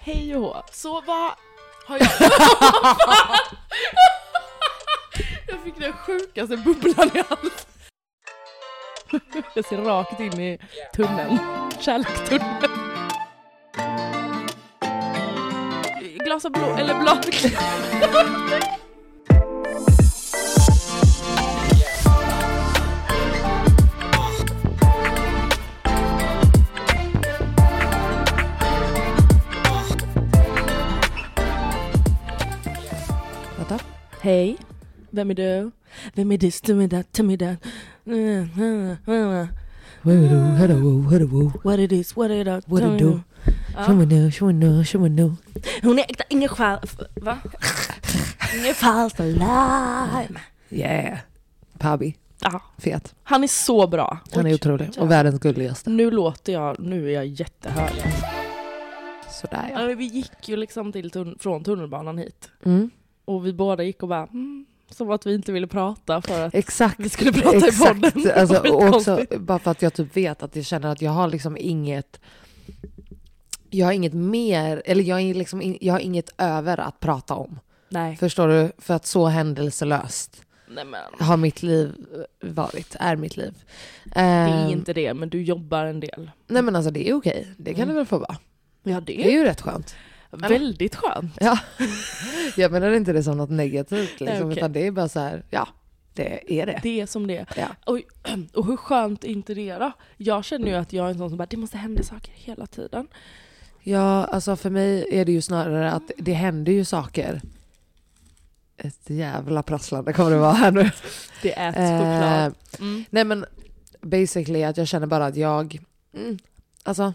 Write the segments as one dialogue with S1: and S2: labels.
S1: Hej och hå. Så vad har jag... Vad fan? jag fick den sjukaste bubblan i halsen. jag ser rakt in i tunneln. Kärlekstunneln. Glas av blå, eller blad. Vänta. Hej. Vem är du? Vem är this? Tell me that, tell me that.
S2: Hello, hello, hello.
S1: What it is, what it is.
S2: What it do?
S1: Ja.
S2: Someone know, someone know, someone know.
S1: Ah. Hon är äkta, ingen själ... Va? ingen falsk alarm.
S2: Yeah. Pabi,
S1: Ja,
S2: fet.
S1: han är så bra.
S2: Han är otrolig och världens gulligaste.
S1: Nu låter jag, nu är jag jättehög.
S2: Sådär
S1: Ja, men vi gick ju liksom till tun- från tunnelbanan hit.
S2: Mm.
S1: Och vi båda gick och bara, mm, som att vi inte ville prata för att
S2: Exakt.
S1: vi skulle prata i
S2: Exakt.
S1: podden. Det
S2: Alltså,
S1: var
S2: och också
S1: konstigt.
S2: bara för att jag typ vet att jag känner att jag har liksom inget jag har inget mer, eller jag, är liksom in, jag har inget över att prata om.
S1: Nej.
S2: Förstår du? För att så händelselöst
S1: Nej men,
S2: har mitt liv varit, är mitt liv. Det
S1: det är inte Mm. det, men du jobbar en del.
S2: Nej men alltså det är okej, det kan det väl få vara.
S1: Ja,
S2: Det är ju rätt skönt.
S1: väldigt skönt.
S2: Ja. Jag menar inte det som något negativt, liksom,
S1: okej.
S2: utan det är bara så här, ja, det är det.
S1: Det är som det är.
S2: Ja.
S1: Och, och hur skönt är inte det då? Jag känner ju att jag är en sån som bara, det måste hända saker hela tiden.
S2: ja, alltså för mig är det ju snarare att det händer ju saker. Ett jävla prasslande kommer det vara här nu.
S1: Det äts
S2: Eh,
S1: choklad. Mm.
S2: nej men basically att jag känner bara att jag, mm, alltså,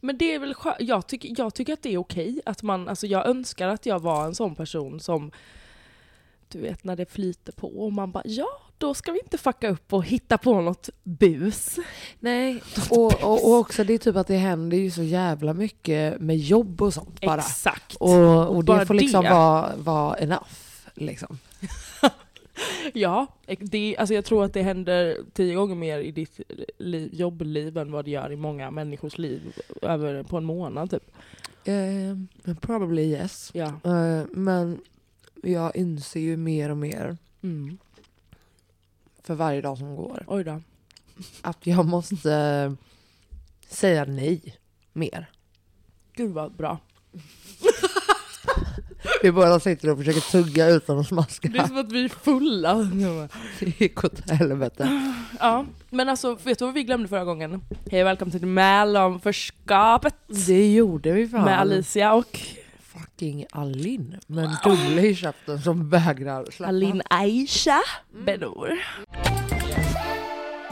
S1: Men det är väl skö- jag, tycker, jag tycker att det är okej. Att man, alltså jag önskar att jag var en sån person som, du vet när det flyter på och man bara ja, då ska vi inte fucka upp och hitta på något bus.
S2: nej. Och, och, och också det är typ att det händer ju så jävla mycket med jobb och sånt bara.
S1: Exakt.
S2: Och, och
S1: Bara
S2: det får liksom
S1: det.
S2: vara vara enough. Liksom.
S1: Ja, ex- det, alltså jag tror att det händer tio gånger mer i ditt li- jobbliv än vad det gör i många människors liv över, på en månad typ.
S2: Eh, probably yes.
S1: Ja.
S2: Eh, men jag inser ju mer och mer
S1: Mm.
S2: för varje dag som går
S1: Oj då.
S2: att jag måste eh, säga nej mer.
S1: Gud vad bra.
S2: Vi båda sitter och försöker tugga utan att smaska.
S1: Det är som att vi är fulla.
S2: Det gick åt helvete.
S1: Ja, men alltså vet du vad vi glömde förra gången? Hej och välkommen till Mellomförskapet
S2: Det gjorde vi fan.
S1: med Alicia och
S2: Fucking Alin. Men Dulle i käften som vägrar släppa.
S1: Alin Aisha Benor.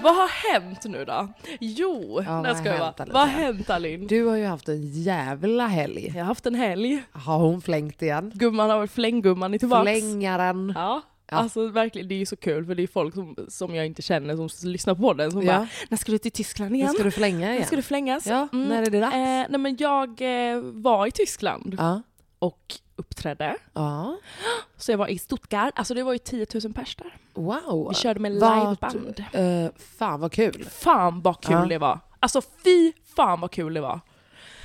S1: Vad har hänt nu då? Jo,
S2: Ja,
S1: nej
S2: vad
S1: ska
S2: har
S1: jag vara.
S2: hänt, Alicia?
S1: Vad har hänt Alin?
S2: Du har ju haft en jävla helg.
S1: Jag har haft en helg.
S2: Har hon flängt igen?
S1: Gumman har varit, flänggumman är tillbaks.
S2: Flängaren.
S1: Ja.
S2: Ja.
S1: Alltså verkligen, det är ju så kul för det är folk som, som jag inte känner som s- lyssnar på den som
S2: Ja.
S1: bara “När ska du till Tyskland
S2: Nu
S1: igen?
S2: ska du förlänga
S1: När
S2: igen.
S1: ska du flängas?”
S2: Ja,
S1: Mm.
S2: när är det dags?
S1: eh, Nej men jag eh, var i Tyskland
S2: Ja.
S1: och uppträdde.
S2: ja.
S1: Så jag var i Stuttgart, alltså det var ju 10 000 pers där.
S2: Wow.
S1: Vi körde med liveband.
S2: eh, fan vad kul.
S1: Fan vad kul
S2: Ja.
S1: det var! Alltså fy fan vad kul det var!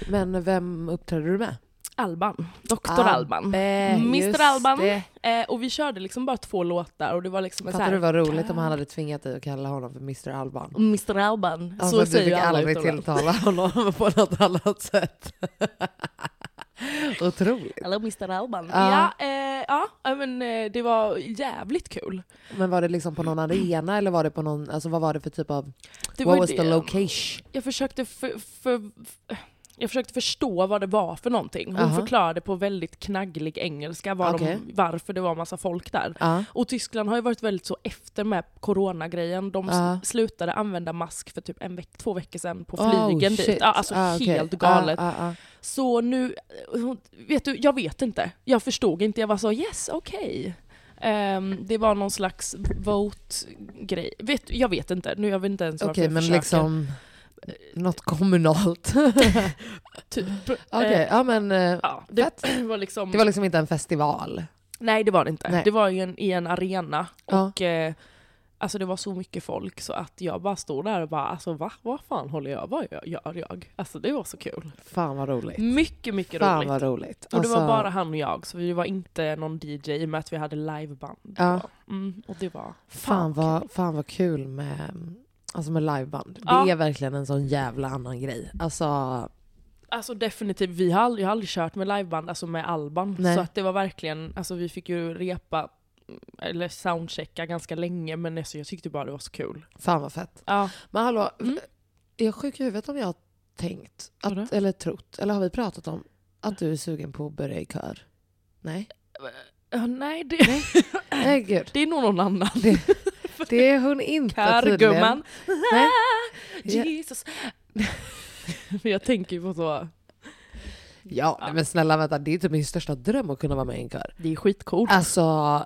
S2: Men vem uppträdde du med?
S1: Alban, Doktor
S2: Ah,
S1: Alban.
S2: eh, just
S1: Mr Alban.
S2: det.
S1: Eh, och vi körde liksom bara två låtar och det var liksom en så
S2: Fattar
S1: här,
S2: du vad roligt om han hade tvingat dig att kalla honom för Mr Alban?
S1: Mr Alban.
S2: Ja,
S1: så
S2: men du
S1: säger
S2: fick
S1: ju alla
S2: aldrig
S1: utomlands.
S2: tilltala honom på något annat sätt. Otroligt.
S1: Hello Mr Alban.
S2: Ja.
S1: Ja, eh, ja ja, men, eh, det var jävligt kul.
S2: Men var det liksom på någon arena eller var det på någon, alltså vad var det för typ av,
S1: Det var
S2: what
S1: ju
S2: was
S1: det.
S2: the location?
S1: Jag försökte, för, för, jag försökte förstå vad det var för någonting. Hon
S2: Aha.
S1: förklarade på väldigt knagglig engelska var
S2: Okej.
S1: de, varför det var massa folk där.
S2: Ja.
S1: Och Tyskland har ju varit väldigt så efter med coronagrejen. De s-
S2: Ja.
S1: slutade använda mask för typ en veck, två veckor sedan på
S2: Oh,
S1: flygen dit.
S2: shit.
S1: Ja, alltså
S2: Ah, okej.
S1: helt galet.
S2: Ah, ah, ah.
S1: Så nu, vet du, jag vet inte. Jag förstod inte. Jag var så yes, okej. Ehm, det var någon slags vote-grej. Vet, du, jag vet inte. Nu jag vet inte ens varför
S2: Okej,
S1: jag
S2: men
S1: försöker.
S2: liksom något kommunalt.
S1: Typ.
S2: Okej,
S1: Eh,
S2: ja men eh,
S1: ja, det,
S2: fett.
S1: var liksom,
S2: det var liksom inte en festival.
S1: Nej det var det inte.
S2: Nej.
S1: Det var ju en, i en arena.
S2: Ja.
S1: Och, eh, alltså det var så mycket folk så att jag bara stod där och bara alltså va? Vad fan håller jag Vad gör- gör jag? Alltså det var så kul.
S2: Fan vad roligt.
S1: Mycket, mycket
S2: Fan
S1: roligt.
S2: vad roligt.
S1: Och det var
S2: Alltså,
S1: bara han och jag, så vi var inte någon DJ i och med att vi hade liveband.
S2: Ja.
S1: Mm, och det var...
S2: Fan vad, fan vad kul med, alltså med liveband.
S1: Ja.
S2: Det är verkligen en sån jävla annan grej. Alltså,
S1: Alltså definitivt, vi har aldrig, jag har aldrig kört med liveband, alltså med Alban.
S2: Nej.
S1: Så att det var verkligen, alltså vi fick ju repa, eller soundchecka ganska länge, men alltså, jag tyckte bara det var så kul.
S2: fan vad fett.
S1: Ja.
S2: Men hallå,
S1: Mm.
S2: är jag sjuk i huvudet om jag har tänkt,
S1: Vadå?
S2: att, eller trott, eller har vi pratat om att du är sugen på att börja i kör? Nej?
S1: Ja, nej, det,
S2: Nej gud.
S1: det är nog någon annan.
S2: Det, det är hon inte
S1: Körgumman.
S2: Nej. Ja.
S1: Jesus. För jag tänker ju på så,
S2: Ja, nej, men snälla vänta, det är typ min största dröm att kunna vara med i en kör.
S1: det är skitcoolt.
S2: Alltså,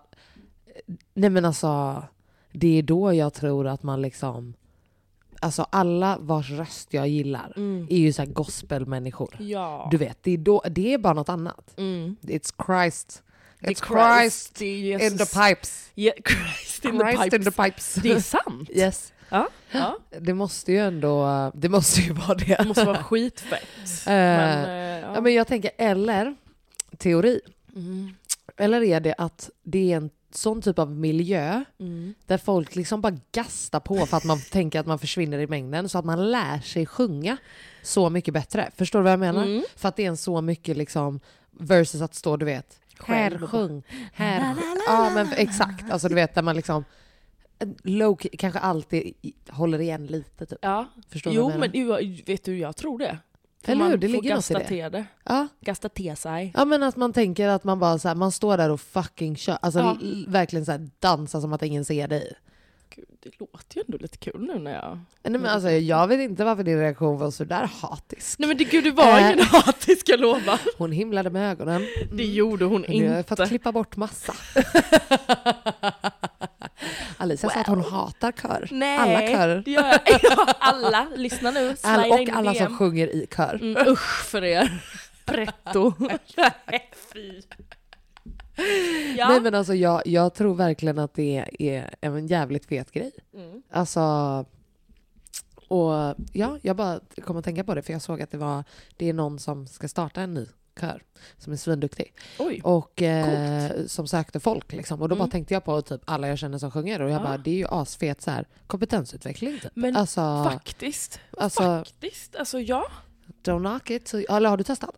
S2: nej men alltså, det är då jag tror att man liksom, alltså alla vars röst jag gillar är ju så här gospelmänniskor.
S1: Mm. Ja.
S2: Du vet, det är, då, det är bara något annat.
S1: Mm.
S2: It's Christ.
S1: Det är
S2: It's Christ,
S1: det är
S2: in the
S1: Jesus.
S2: pipes.
S1: Ja, Christ in the
S2: Christ
S1: pipes.
S2: in the pipes.
S1: Det är sant.
S2: Yes.
S1: Ja. ja.
S2: Det måste ju ändå, det måste ju vara det.
S1: Det måste vara skitfett.
S2: Eh,
S1: Men, eh,
S2: ja.
S1: ja. Mm.
S2: men jag tänker, eller teori. Eller är det att det är en sån typ av miljö
S1: Mm.
S2: där folk liksom bara gastar på för att man tänker att man försvinner i mängden så att man lär sig sjunga så mycket bättre. Förstår du vad jag menar?
S1: Mm.
S2: För att det är en så mycket liksom versus att stå, du vet, här
S1: Själv och
S2: sjung, här sjung. Ja men exakt, alltså du vet där man liksom low key, kanske alltid i- håller igen lite typ.
S1: ja.
S2: Förstår du
S1: jo,
S2: vad jag
S1: men
S2: menar?
S1: ju- vet du, jag tror det. För
S2: Eller hur?
S1: man
S2: Det
S1: får
S2: ligger något i
S1: gasta
S2: det.
S1: te det.
S2: Ja.
S1: Gasta te sig.
S2: Ja men att man tänker att man bara så här, man står där och fucking kör. Alltså
S1: Ja.
S2: l- verkligen så här, dansa som att ingen ser dig.
S1: Gud, det låter ju ändå lite kul nu när jag...
S2: Nej, men alltså, jag vet inte varför din reaktion var så där hatisk.
S1: Mm. Nej men det, gud, det var
S2: Eh.
S1: ingen hatisk, jag lovar.
S2: Hon himlade med ögonen. Mm.
S1: Det gjorde hon
S2: Men Jag har
S1: inte.
S2: fått klippa bort massa. Alicia sa att hon hatar kör.
S1: Nej,
S2: alla körer.
S1: det gör jag. Ja, alla, lyssna nu.
S2: All,
S1: slida in
S2: och
S1: i
S2: alla
S1: DM.
S2: som sjunger i kör.
S1: Mm, usch för er. Pretto. Nej, fy. Ja.
S2: Nej men alltså jag, jag tror verkligen att det är en jävligt fet grej.
S1: Mm.
S2: Alltså, och ja, jag bara kom att tänka på det för jag såg att det var, det är någon som ska starta en ny kör som är svinduktig.
S1: Oj.
S2: Och eh, som sökte folk liksom. Och då
S1: Mm.
S2: bara tänkte jag på typ alla jag känner som sjunger och jag bara det är ju asfet så här, kompetensutveckling typ.
S1: Men
S2: alltså,
S1: Faktiskt.
S2: alltså
S1: Faktiskt. Alltså ja.
S2: don't knock it. Så, eller har du testat?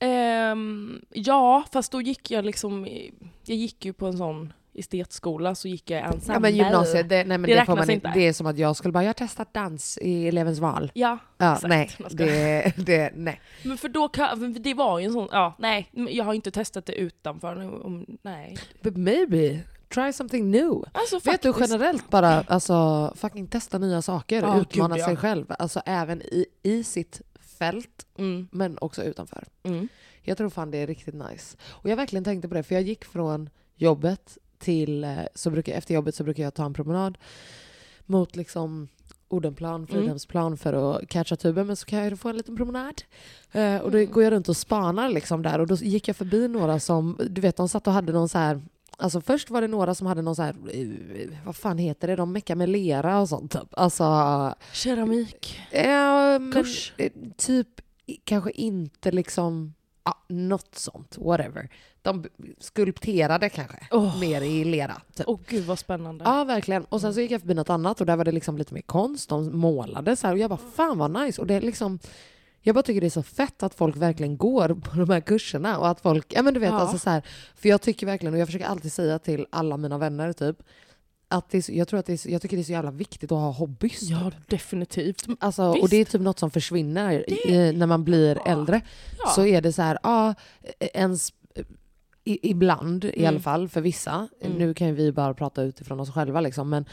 S1: Ehm, ja, fast då gick jag liksom... i- Jag gick ju på en sån estetskola, så gick jag i ensemble.
S2: Ja men gymnasiet, det, nej, men
S1: Det
S2: det, får
S1: räknas
S2: man inte.
S1: inte.
S2: Det är som att jag skulle bara jag har testat dans i elevens val.
S1: Ja,
S2: Ja,
S1: exakt.
S2: nej,
S1: Man ska-
S2: det, det, nej.
S1: Men för då kan, för det var ju en sån, ja nej, men jag har inte testat det utanför, nu, om, nej.
S2: But maybe, try something new.
S1: Alltså
S2: Vet du
S1: faktiskt.
S2: generellt bara, alltså fucking testa nya saker,
S1: Ja,
S2: utmana
S1: gud, ja.
S2: sig själv. Alltså även i, i sitt fält,
S1: Mm,
S2: men också utanför.
S1: mm.
S2: Jag tror fan det är riktigt nice. Och jag verkligen tänkte på det, för jag gick från jobbet till, eh, så brukar, efter jobbet så brukar jag ta en promenad mot liksom Odenplan, Fridhemsplan för att catcha tuben. Men så kan jag ju få en liten promenad. Eh, och då går jag runt och spanar liksom där. Och då gick jag förbi några som, du vet de satt och hade någon så här Alltså först var det några som hade någon så här, eh, vad fan heter det, de meckar med lera och sånt typ. Alltså,
S1: Keramik.
S2: Ja, men,
S1: Kurs?
S2: eh, Typ i- kanske inte liksom, ja, något sånt, whatever. De b- skulpterade kanske,
S1: Åh. Oh,
S2: mer i lera. Typ.
S1: Åh gud vad spännande.
S2: Ja, verkligen. Och sen så gick jag förbi något annat och där var det liksom lite mer konst. De målade så här och jag bara fan vad nice. Och det är liksom, jag bara tycker det är så fett att folk verkligen går på de här kurserna och att folk, ja men du vet
S1: Ja.
S2: alltså så här, för jag tycker verkligen och jag försöker alltid säga till alla mina vänner typ, att det är, så- jag tror att det är, så- jag tycker det är så jävla viktigt att ha hobbys.
S1: Ja, definitivt.
S2: Alltså, och
S1: Visst.
S2: det är typ något som försvinner i, när man blir äldre.
S1: Ja.
S2: Så är det så här, ja, ens, i, ibland i
S1: Mm.
S2: alla fall för vissa, nu kan ju vi bara prata utifrån oss själva liksom, men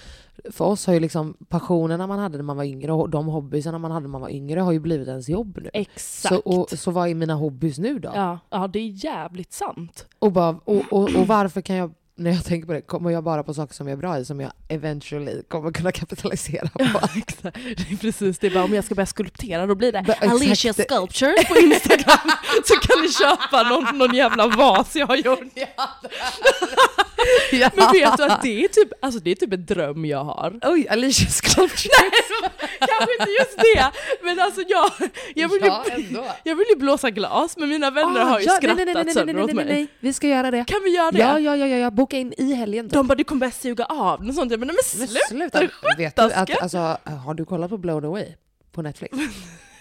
S2: för oss har ju liksom passionerna man hade när man var yngre och de hobbyerna man hade när man var yngre har ju blivit ens jobb nu.
S1: Exakt.
S2: Så, och, så vad är mina hobbys nu då?
S1: ja. ja, det är jävligt sant.
S2: Och, bara, och, och, och varför kan jag, när jag tänker på det, kommer jag bara på saker som jag är bra i som jag eventually kommer kunna kapitalisera på?
S1: Exakt. Det är precis det. Är bara, om jag ska börja skulptera då blir det
S2: Ba- exakt
S1: Alicia
S2: det.
S1: Sculpture på Instagram. så kan ni köpa någon, någon jävla vas jag har gjort. Men vet du att det är typ, alltså det är typ en dröm jag har.
S2: Oj, Alicia Sculpture!
S1: Nej, så, kanske inte just det, men alltså jag, jag, vill,
S2: Ja,
S1: ju,
S2: ändå.
S1: jag vill ju blåsa glas, men mina vänner
S2: Ah,
S1: har ju
S2: ja,
S1: skrattat
S2: nej, nej, nej, nej,
S1: sönder
S2: nej,
S1: åt
S2: nej, nej,
S1: mig.
S2: nej, vi ska göra det.
S1: Kan vi göra det?
S2: Ja, ja, ja, ja, ja, boka in i helgen. då.
S1: De bara du kommer börja suga av och sånt. Jag bara, nej men
S2: Men
S1: sluta,
S2: sluta. Vet du
S1: skötaska.
S2: att, alltså, har du kollat på Blown Away på Netflix?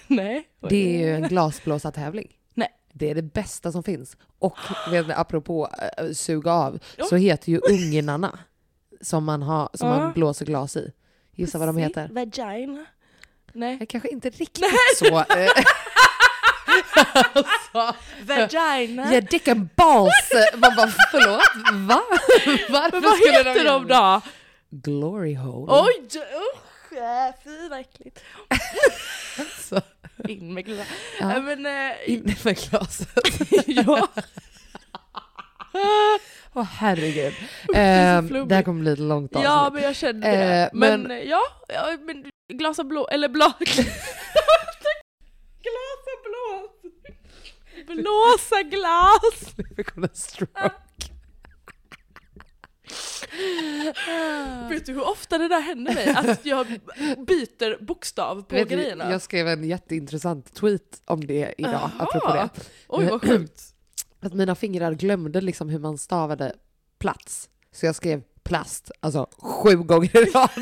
S1: Nej.
S2: Det är ju en glasblåsartävling.
S1: Nej.
S2: Det är det bästa som finns. Och vet ni, apropå äh, suga av, så heter ju ungnarna som man, har, som man
S1: Ja.
S2: blåser glas i. Gissa vad de heter?
S1: Vagina. Nej.
S2: Jag kanske inte riktigt så... eh,
S1: Vagina.
S2: Ja, dick and balls! Man bara, förlåt? Va? Varför
S1: Men vad
S2: skulle
S1: heter
S2: göra Mm.
S1: de
S2: det?
S1: då?
S2: Glory hole.
S1: Oj, usch, äh, fy vad äckligt.
S2: Så.
S1: In med glaset.
S2: Ja.
S1: Äh, Men, äh,
S2: Inne med glaset.
S1: ja.
S2: Åh herregud.
S1: är så
S2: Ehm, det här
S1: flummigt.
S2: kommer bli ett långt avsnitt.
S1: ja, men jag kände det.
S2: Eh,
S1: Men, äh,
S2: men-
S1: ja, ja, men glas av blå, eller blå. glas av blå. Blåsa glas.
S2: Vi kommer en stroke.
S1: Vet du hur ofta det där händer mig? Att jag byter bokstav på
S2: Vet du,
S1: grejerna.
S2: jag skrev en jätteintressant tweet om det idag,
S1: Aha.
S2: apropå det.
S1: Oj vad sjukt.
S2: Att mina fingrar glömde liksom hur man stavade plats. Så jag skrev plast, alltså sju gånger i rad.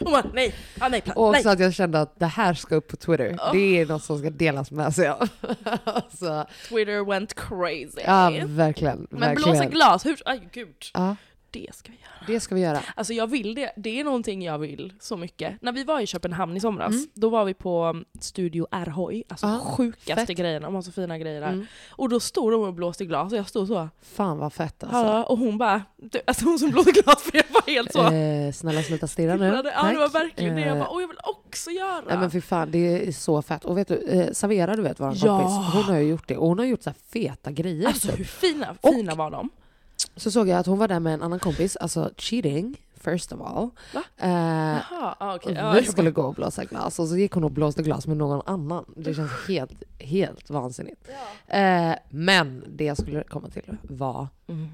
S1: Och man, nej, ah, nej, pla-
S2: Och
S1: nej. Oh.
S2: också att jag kände att det här ska upp på Twitter. Det är något som ska delas med sig av. så,
S1: Twitter went crazy.
S2: ja, verkligen.
S1: men
S2: verkligen.
S1: blåsa glas, hur, aj gud.
S2: Ja,
S1: Det ska vi göra.
S2: det ska vi göra.
S1: Alltså jag vill det, det är någonting jag vill så mycket. När vi var i Köpenhamn i somras, då var vi på um, Studio Erhoj, alltså
S2: Mm. Ja,
S1: sjukaste
S2: fett.
S1: grejerna, de har så fina grejer där.
S2: Mm.
S1: Och då stod de och blåste glas och jag stod så,
S2: Fan vad fett alltså.
S1: "Hallå?" och hon bara, du, alltså hon som blåste glas för jag var helt så.
S2: Eh, snälla sluta stirra nu.
S1: Ja, det- ja, det var verkligen det. Jag
S2: Eh,
S1: bara, åh jag vill också göra!
S2: Nej men för fan, det är så fett. Och vet du, eh, Savera du vet våran
S1: Ja.
S2: kompis, hon har ju gjort det. Och hon har gjort så här feta grejer.
S1: alltså
S2: typ.
S1: hur fina,
S2: Och-
S1: fina var de?
S2: Så såg jag att hon var där med en annan kompis, alltså cheating, first of all.
S1: Va?
S2: Eh,
S1: Jaha, ah, okej.
S2: och
S1: Ja,
S2: vi
S1: jag
S2: skulle gå och blåsa glas och så gick hon och blåste glas med någon annan. Det känns helt, helt vansinnigt. Eh, men det jag skulle komma till var
S1: Mm.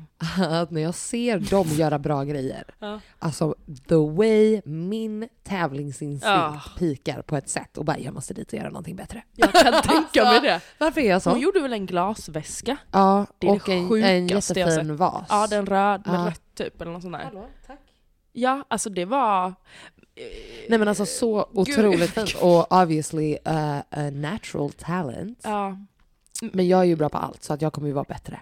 S2: att när jag ser dem göra bra grejer,
S1: Ja.
S2: alltså the way min tävlingsinstinkt
S1: Ja.
S2: pikar på ett sätt och bara jag måste dit och göra någonting bättre.
S1: Ah.
S2: Alltså,
S1: Jag kan tänka mig det.
S2: Varför är jag så?
S1: Hon gjorde väl en glasväska?
S2: Ja,
S1: Det är det
S2: och en, en
S1: sjukaste jag har
S2: jättefin vas.
S1: Ja, den röd med
S2: Ja.
S1: rött typ eller något sånt där. Ja, alltså det var...
S2: Nej men alltså så otroligt fint och obviously eh, a natural talent.
S1: Ja,
S2: Men jag är ju bra på allt så att jag kommer ju vara bättre.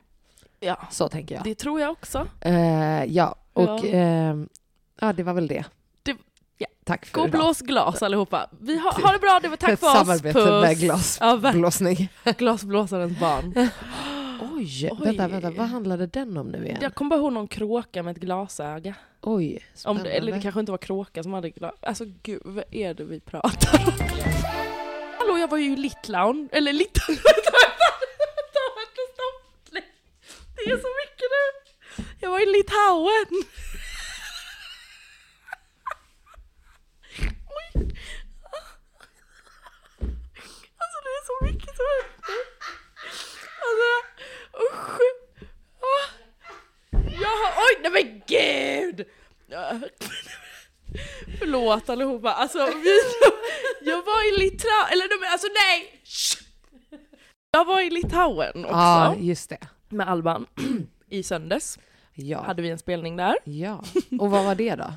S1: ja.
S2: Så tänker jag.
S1: Det tror jag också.
S2: Eh, ja, och
S1: Ja.
S2: ehm, ja, det var väl det.
S1: Det- ja.
S2: Tack för
S1: Gå och
S2: idag.
S1: blås glas allihopa. Vi har, ha det bra, det var tack
S2: Ett
S1: för oss.
S2: samarbete
S1: Puss.
S2: med glas,
S1: Ja, verkligen.
S2: blåsning.
S1: Glasblåsarens barn.
S2: Oj,
S1: Oj.
S2: vänta, vänta, vad handlade den om nu igen?
S1: Jag kommer bara ihåg någon kråka med ett glasöga.
S2: Oj,
S1: Om
S2: spännande.
S1: det, eller det kanske inte var kråka som hade glas. Alltså gud, vad är det vi pratar om? Hallå, jag var ju i Litlaun. Eller Litlaun... Vänta, vänta, vänta, vänta, stopp. Det är så mycket nu. Jag var i Litauen! Oj. Alltså det är så mycket som händer. Alltså usch. Ah. Jag har, oj nej men gud! Ja. Förlåt allihopa, alltså vi, jag var i Litauen, eller nej men alltså nej! Shh. Jag var i Litauen också
S2: Ja, just det.
S1: med Alban i söndags.
S2: Ja.
S1: Hade vi en spelning där.
S2: ja. Och vad var det då?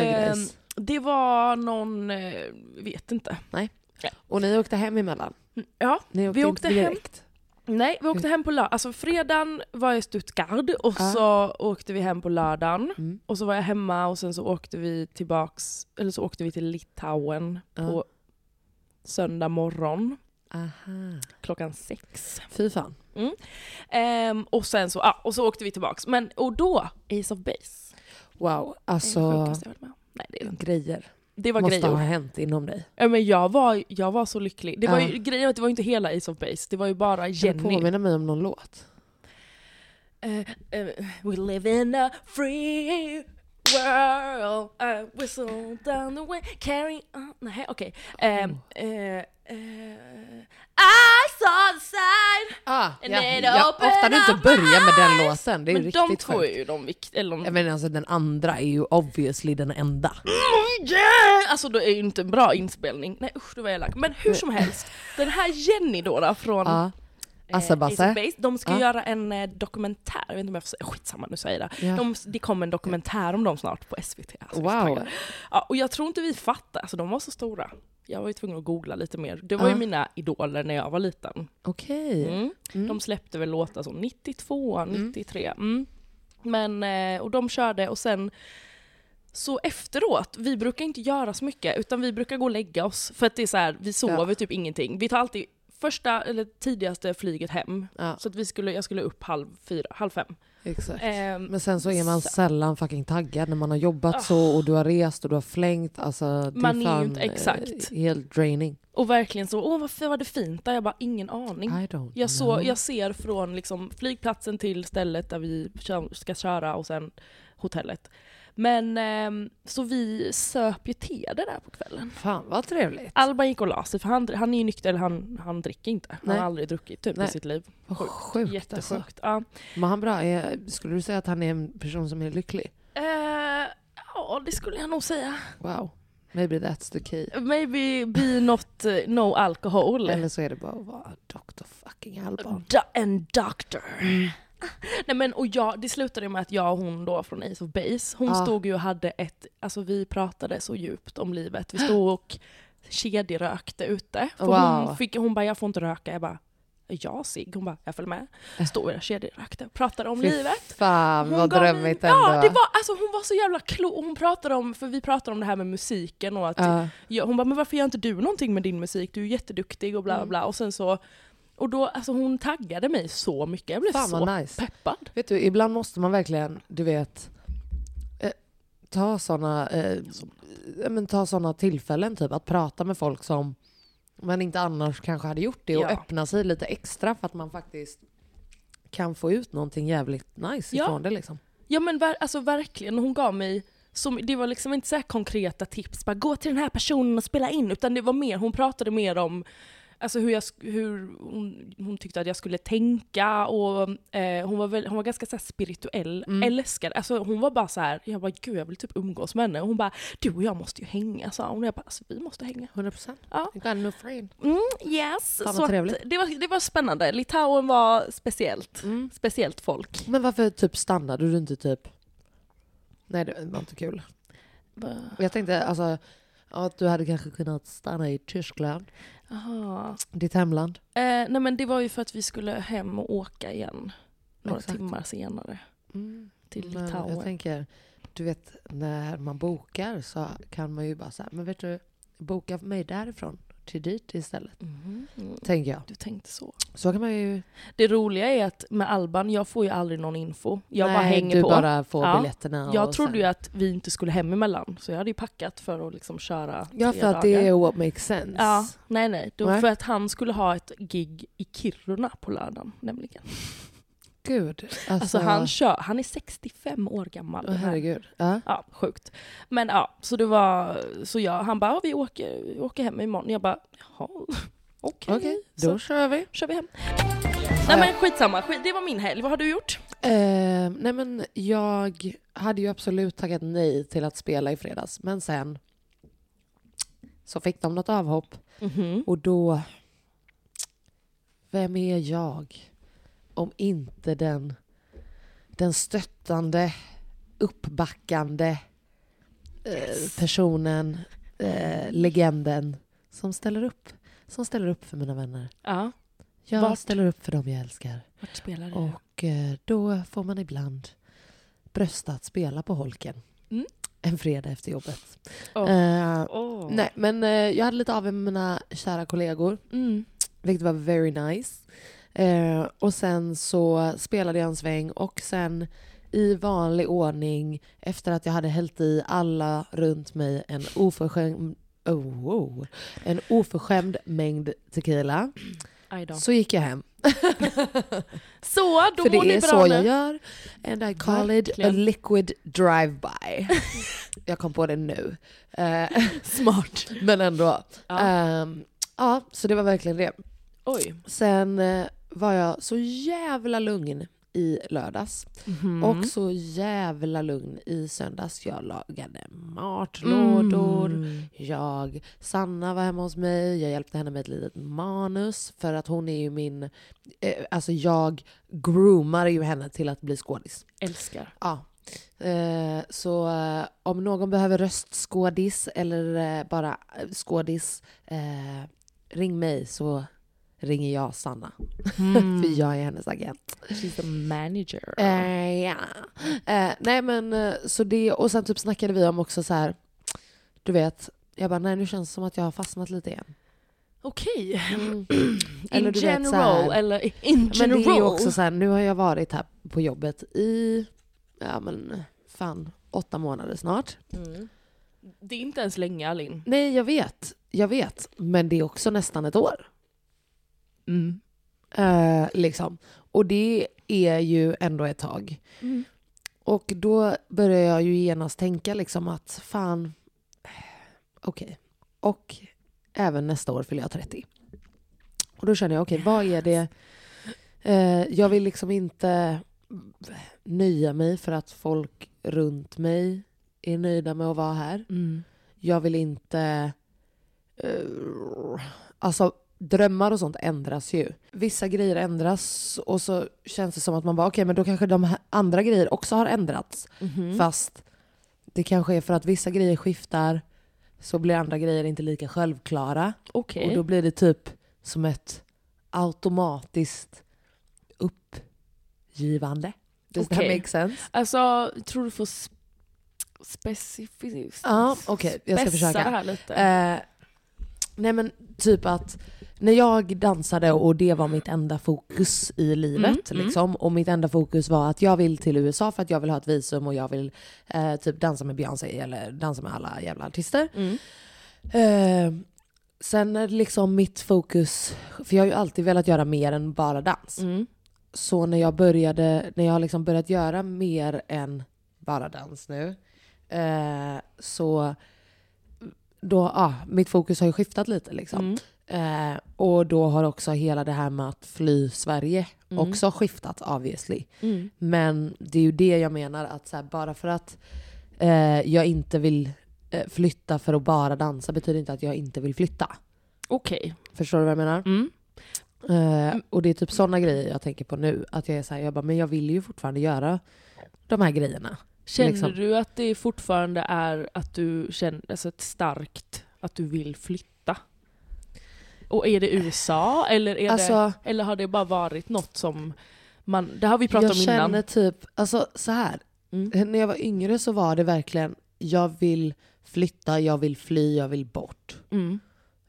S1: Ehm,
S2: grejs?
S1: det var någon, eh, vet inte.
S2: Nej.
S1: nej.
S2: Och ni åkte hem emellan?
S1: Ja,
S2: Ni
S1: vi
S2: åkte inte
S1: åkte hem.
S2: direkt?
S1: Nej, vi åkte hem på lördag. Alltså fredagen var jag i Stuttgart och
S2: Ja.
S1: så åkte vi hem på lördagen.
S2: Mm.
S1: Och så var jag hemma och sen så åkte vi tillbaks, eller så åkte vi till Litauen
S2: Ja.
S1: på söndag morgon
S2: Aha.
S1: klockan sex.
S2: Fy fan.
S1: Ehm, och sen så, ja, och så åkte vi tillbaks. Men, och då, Ace of Base.
S2: Wow,
S1: Det är
S2: alltså
S1: det sjukaste jag varit med om. Nej, det är det inte.
S2: grejer
S1: Det var
S2: måste
S1: grejer.
S2: ha hänt inom dig.
S1: Ja, men jag, var, jag var så lycklig. Det var
S2: Ja.
S1: ju, grejen var att det var ju inte hela Ace of Base, det var ju bara
S2: Kan du
S1: Jenny.
S2: påminna mig om någon låt?
S1: Eh, eh, we live in a free world, I whistle down the way, carry on... Nej, okej. Eh,
S2: Mm.
S1: eh, eh, I saw the sign!
S2: Ah,
S1: And
S2: ja.
S1: it
S2: ja,
S1: opened
S2: ofta du
S1: up
S2: inte börjar med
S1: my
S2: den
S1: eyes.
S2: låten, det är ju
S1: Men de
S2: riktigt
S1: två är
S2: sjukt.
S1: ju de viktiga, eller de...
S2: Jag menar alltså den andra är ju obviously den enda.
S1: Mm, yeah! Alltså det är ju inte en bra inspelning. Nej usch, det var jag elak. Men hur som helst, den här Jenny då, då från
S2: Ja.
S1: Eh,
S2: Assa
S1: Ace of
S2: Basse.
S1: Base. De ska
S2: Ja.
S1: göra en eh, dokumentär, jag vet inte om jag får säga, skitsamma nu säger jag det.
S2: Ja.
S1: De, det kommer en dokumentär om dem snart på SVT. Alltså, jag är så
S2: Wow.
S1: taggad. Ja, och jag tror inte vi fattar, alltså de var så stora. Jag var ju tvungen att googla lite mer. Det var
S2: Ja.
S1: ju mina idoler när jag var liten.
S2: Okej.
S1: Mm. De släppte väl låtar som 92, 93. Mm. Men, eh, och de körde och sen så efteråt, vi brukar inte göra så mycket utan vi brukar gå och lägga oss för att det är så här, vi sover typ ingenting. Vi tar alltid första eller tidigaste flyget hem.
S2: Ja.
S1: Så att vi skulle, jag skulle upp halv fyra, halv fem.
S2: Exakt.
S1: Ehm,
S2: Men sen så är man sällan fucking taggad när man har jobbat så och du har rest och du har flängt. Alltså, det
S1: Ah. Man är ju
S2: fan,
S1: inte-
S2: eh,
S1: exakt.
S2: helt draining.
S1: Och verkligen så, åh vad f- vad det fint där, jag bara ingen aning.
S2: I don't
S1: Jag, så,
S2: know.
S1: jag ser från liksom flygplatsen till stället där vi kö- ska köra och sen hotellet. Men ehm, så vi söp ju te det där på kvällen.
S2: Fan vad trevligt.
S1: Alban gick och la sig för han, han är ju nykter, eller han, han dricker inte. Han
S2: Nej.
S1: har aldrig druckit typ
S2: Nej.
S1: i sitt liv.
S2: Vad sjukt
S1: Jättesjukt.
S2: alltså.
S1: Ja.
S2: Men han bra, är, skulle du säga att han är en person som är lycklig?
S1: Eh, ja, det skulle jag nog säga.
S2: Wow. Maybe that's the key.
S1: Maybe be not eh, no alcohol.
S2: Eller så är det bara att vara Dr. fucking Alban.
S1: Do- en doctor. Typ. Mm. Nej men och jag, det slutade med att jag och hon då från Ace of Base, hon
S2: Ja.
S1: stod ju och hade ett, alltså vi pratade så djupt om livet. Vi stod och kedjerökte ute. För
S2: Wow.
S1: hon, fick, hon bara, jag får inte röka. Jag bara, jag Sig. Hon bara, jag följer med. Stod och kedjerökte och pratade om livet.
S2: Äh. fan
S1: Hon
S2: vad
S1: gav mig-
S2: drömmigt ändå.
S1: Ja, det var, alltså hon var så jävla klok. och Hon pratade om, för vi pratade om det här med musiken och att
S2: Ja.
S1: Ja, hon bara, men varför gör inte du någonting med din musik? Du är jätteduktig och bla bla
S2: Mm.
S1: bla. Och sen så, och då, alltså hon taggade mig så mycket. Jag blev
S2: Fan,
S1: så
S2: vad nice.
S1: peppad.
S2: Vet du, ibland måste man verkligen, du vet, eh, ta sådana eh, ja, men ta såna tillfällen, typ att prata med folk som man inte annars kanske hade gjort det och
S1: Ja.
S2: öppna sig lite extra för att man faktiskt kan få ut någonting jävligt nice
S1: Ja.
S2: ifrån det liksom.
S1: Ja men ver- alltså verkligen, hon gav mig som, det var liksom inte så här konkreta tips, bara gå till den här personen och spela in, utan det var mer, hon pratade mer om alltså hur, jag, sk- hur hon, hon tyckte att jag skulle tänka och eh, hon, var väl, hon var ganska så här spirituell,
S2: Mm.
S1: älskade, alltså hon var bara så här, jag bara gud jag vill typ umgås med henne, och hon bara du och jag måste ju hänga sa hon, och jag bara alltså vi måste hänga.
S2: 100%.
S1: Ja.
S2: You got no friend.
S1: Mm, yes.
S2: vad
S1: Så att
S2: trevligt.
S1: det, var, det var spännande. Litauen var speciellt. Speciellt folk.
S2: Men varför typ stannade du inte typ... Nej det var inte kul. Jag tänkte alltså att du hade kanske kunnat stanna i Tyskland,
S1: Aha.
S2: ditt hemland.
S1: Eh, nej men det var ju för att vi skulle hem och åka igen. Några
S2: Exakt. Mm.
S1: timmar senare. Till
S2: Men
S1: Litauen.
S2: Jag tänker, du vet när man bokar så kan man ju bara säga, men vet du, boka mig därifrån till dit istället. Tänker jag.
S1: Mm. Du tänkte så.
S2: Så kan man ju...
S1: Det roliga är att med Alban, jag får ju aldrig någon info. Jag
S2: Nej,
S1: bara hänger
S2: du
S1: på.
S2: bara får
S1: Ja.
S2: biljetterna.
S1: Jag
S2: och
S1: trodde
S2: sen-
S1: ju att vi inte skulle hem emellan, så jag hade ju packat för att liksom köra
S2: Ja,
S1: tre
S2: för att
S1: dagar.
S2: det är what makes sense.
S1: Ja, nej nej. Då,
S2: Nej.
S1: för att han skulle ha ett gig i Kiruna på lördagen nämligen.
S2: Gud. Alltså,
S1: Alltså han kör, han är 65 år gammal.
S2: Åh,
S1: den här.
S2: herregud. Ja.
S1: Ja, sjukt. Men ja, så det var, så jag, han bara, "Ja, vi åker, vi åker hem imorgon. Jag bara, jaha, okej.
S2: Okej, då
S1: Så
S2: kör vi.
S1: kör vi hem.
S2: ja.
S1: Nej men skitsamma, Skit, det var min helg. Vad har du gjort?
S2: Eh, nej men jag hade ju absolut tackat nej till att spela i fredags. Men sen så fick de något avhopp och då... Vem är jag om inte den, den stöttande, uppbackande eh, personen, eh, legenden som ställer upp. Som ställer upp för mina vänner.
S1: Ja,
S2: Jag
S1: Vart?
S2: ställer upp för dem jag älskar.
S1: vart spelade du?
S2: Och eh, då får man ibland brösta att spela på holken.
S1: Mm.
S2: En fredag efter jobbet.
S1: Åh.
S2: Eh,
S1: Åh.
S2: Nej, men eh, jag hade lite av med mina kära kollegor,
S1: Mm.
S2: vilket var very nice. Eh, och sen så spelade jag en sväng och sen i vanlig ordning, efter att jag hade hällt i alla runt mig en oförskämd, oh, oh, en oförskämd mängd tequila,
S1: Aj då.
S2: så gick jag hem.
S1: Så, då
S2: För
S1: mår
S2: det
S1: ni
S2: är
S1: bra
S2: så
S1: nu.
S2: jag gör. And I call it a
S1: Verkligen.
S2: liquid drive-by. jag kom på det nu. Eh, Smart. Men ändå.
S1: Ja.
S2: Ehm, ja, så det var verkligen det.
S1: Oj.
S2: Sen eh, var jag så jävla lugn i lördags.
S1: Mhm.
S2: Och så jävla lugn i söndags. Jag lagade matlådor.
S1: Mm.
S2: Jag, Sanna var hemma hos mig. Jag hjälpte henne med ett litet manus. För att hon är ju min... Eh, alltså jag groomar ju henne till att bli skådis.
S1: Älskar.
S2: Ja. Eh, så eh, om någon behöver röstskådis eller eh, bara eh, skådis, eh, ring mig så ringer jag Sanna.
S1: Mm.
S2: För jag är hennes agent.
S1: She's the manager.
S2: Eh, ja. eh, nej men eh, så det, och sen typ snackade vi om också så här, du vet, jag bara nej nu känns det som att jag har fastnat lite igen.
S1: Okej.
S2: Eller
S1: Mm. In
S2: du vet, så
S1: general,
S2: här-
S1: eller in
S2: Men
S1: general.
S2: det är ju också så här, nu har jag varit här på jobbet i, ja men fan, åtta månader snart.
S1: Det är inte ens länge, Alin.
S2: Nej, jag vet. Jag vet. Men det är också nästan ett år. Eh, liksom. Och det är ju ändå ett tag. Och då börjar jag ju genast tänka liksom att fan, eh, okej. Och även nästa år fyller jag 30. Och då känner jag, okej, vad är det... Eh, jag vill liksom inte nöja mig för att folk runt mig är nöjda med att vara här. Jag vill inte... eh, alltså drömmar och sånt ändras ju. Vissa grejer ändras och så känns det som att man bara okej men då kanske de här andra grejer också har ändrats.
S1: Mhm.
S2: Fast det kanske är för att vissa grejer skiftar så blir andra grejer inte lika självklara.
S1: Okej.
S2: Och då blir det typ som ett automatiskt uppgivande. Does that
S1: Okej.
S2: make sense?
S1: Alltså, tror du får sp- specifikt...
S2: Ja, okej, jag ska försöka.
S1: det här lite.
S2: Eh, nej men typ att när jag dansade och det var mitt enda fokus i livet liksom, och mitt enda fokus var att jag vill till USA för att jag vill ha ett visum och jag vill eh, typ dansa med Beyoncé eller dansa med alla jävla artister. Eh, sen är det liksom mitt fokus, för jag har ju alltid velat göra mer än bara dans. Så när jag började, när jag har liksom börjat göra mer än bara dans nu, eh, så då, ah, mitt fokus har ju skiftat lite. Liksom. Eh, och då har också hela det här med att fly Sverige också skiftat obviously. Men det är ju det jag menar, att så här, bara för att eh, jag inte vill eh, flytta för att bara dansa betyder inte att jag inte vill flytta.
S1: Okej.
S2: Förstår du vad jag menar? Eh, och det är typ sådana grejer jag tänker på nu. Att jag är såhär, jag bara, men jag vill ju fortfarande göra de här grejerna.
S1: Känner
S2: Liksom.
S1: du att det fortfarande är att du känner alltså ett starkt att du vill flytta? Och är det USA eller, är
S2: Alltså-
S1: det, eller har det bara varit något som man... Det har vi pratat
S2: jag
S1: om
S2: känner
S1: innan. Mm.
S2: typ, alltså så här. Eh, När jag var yngre så var det verkligen, jag vill flytta, jag vill fly, jag vill bort.
S1: Mm.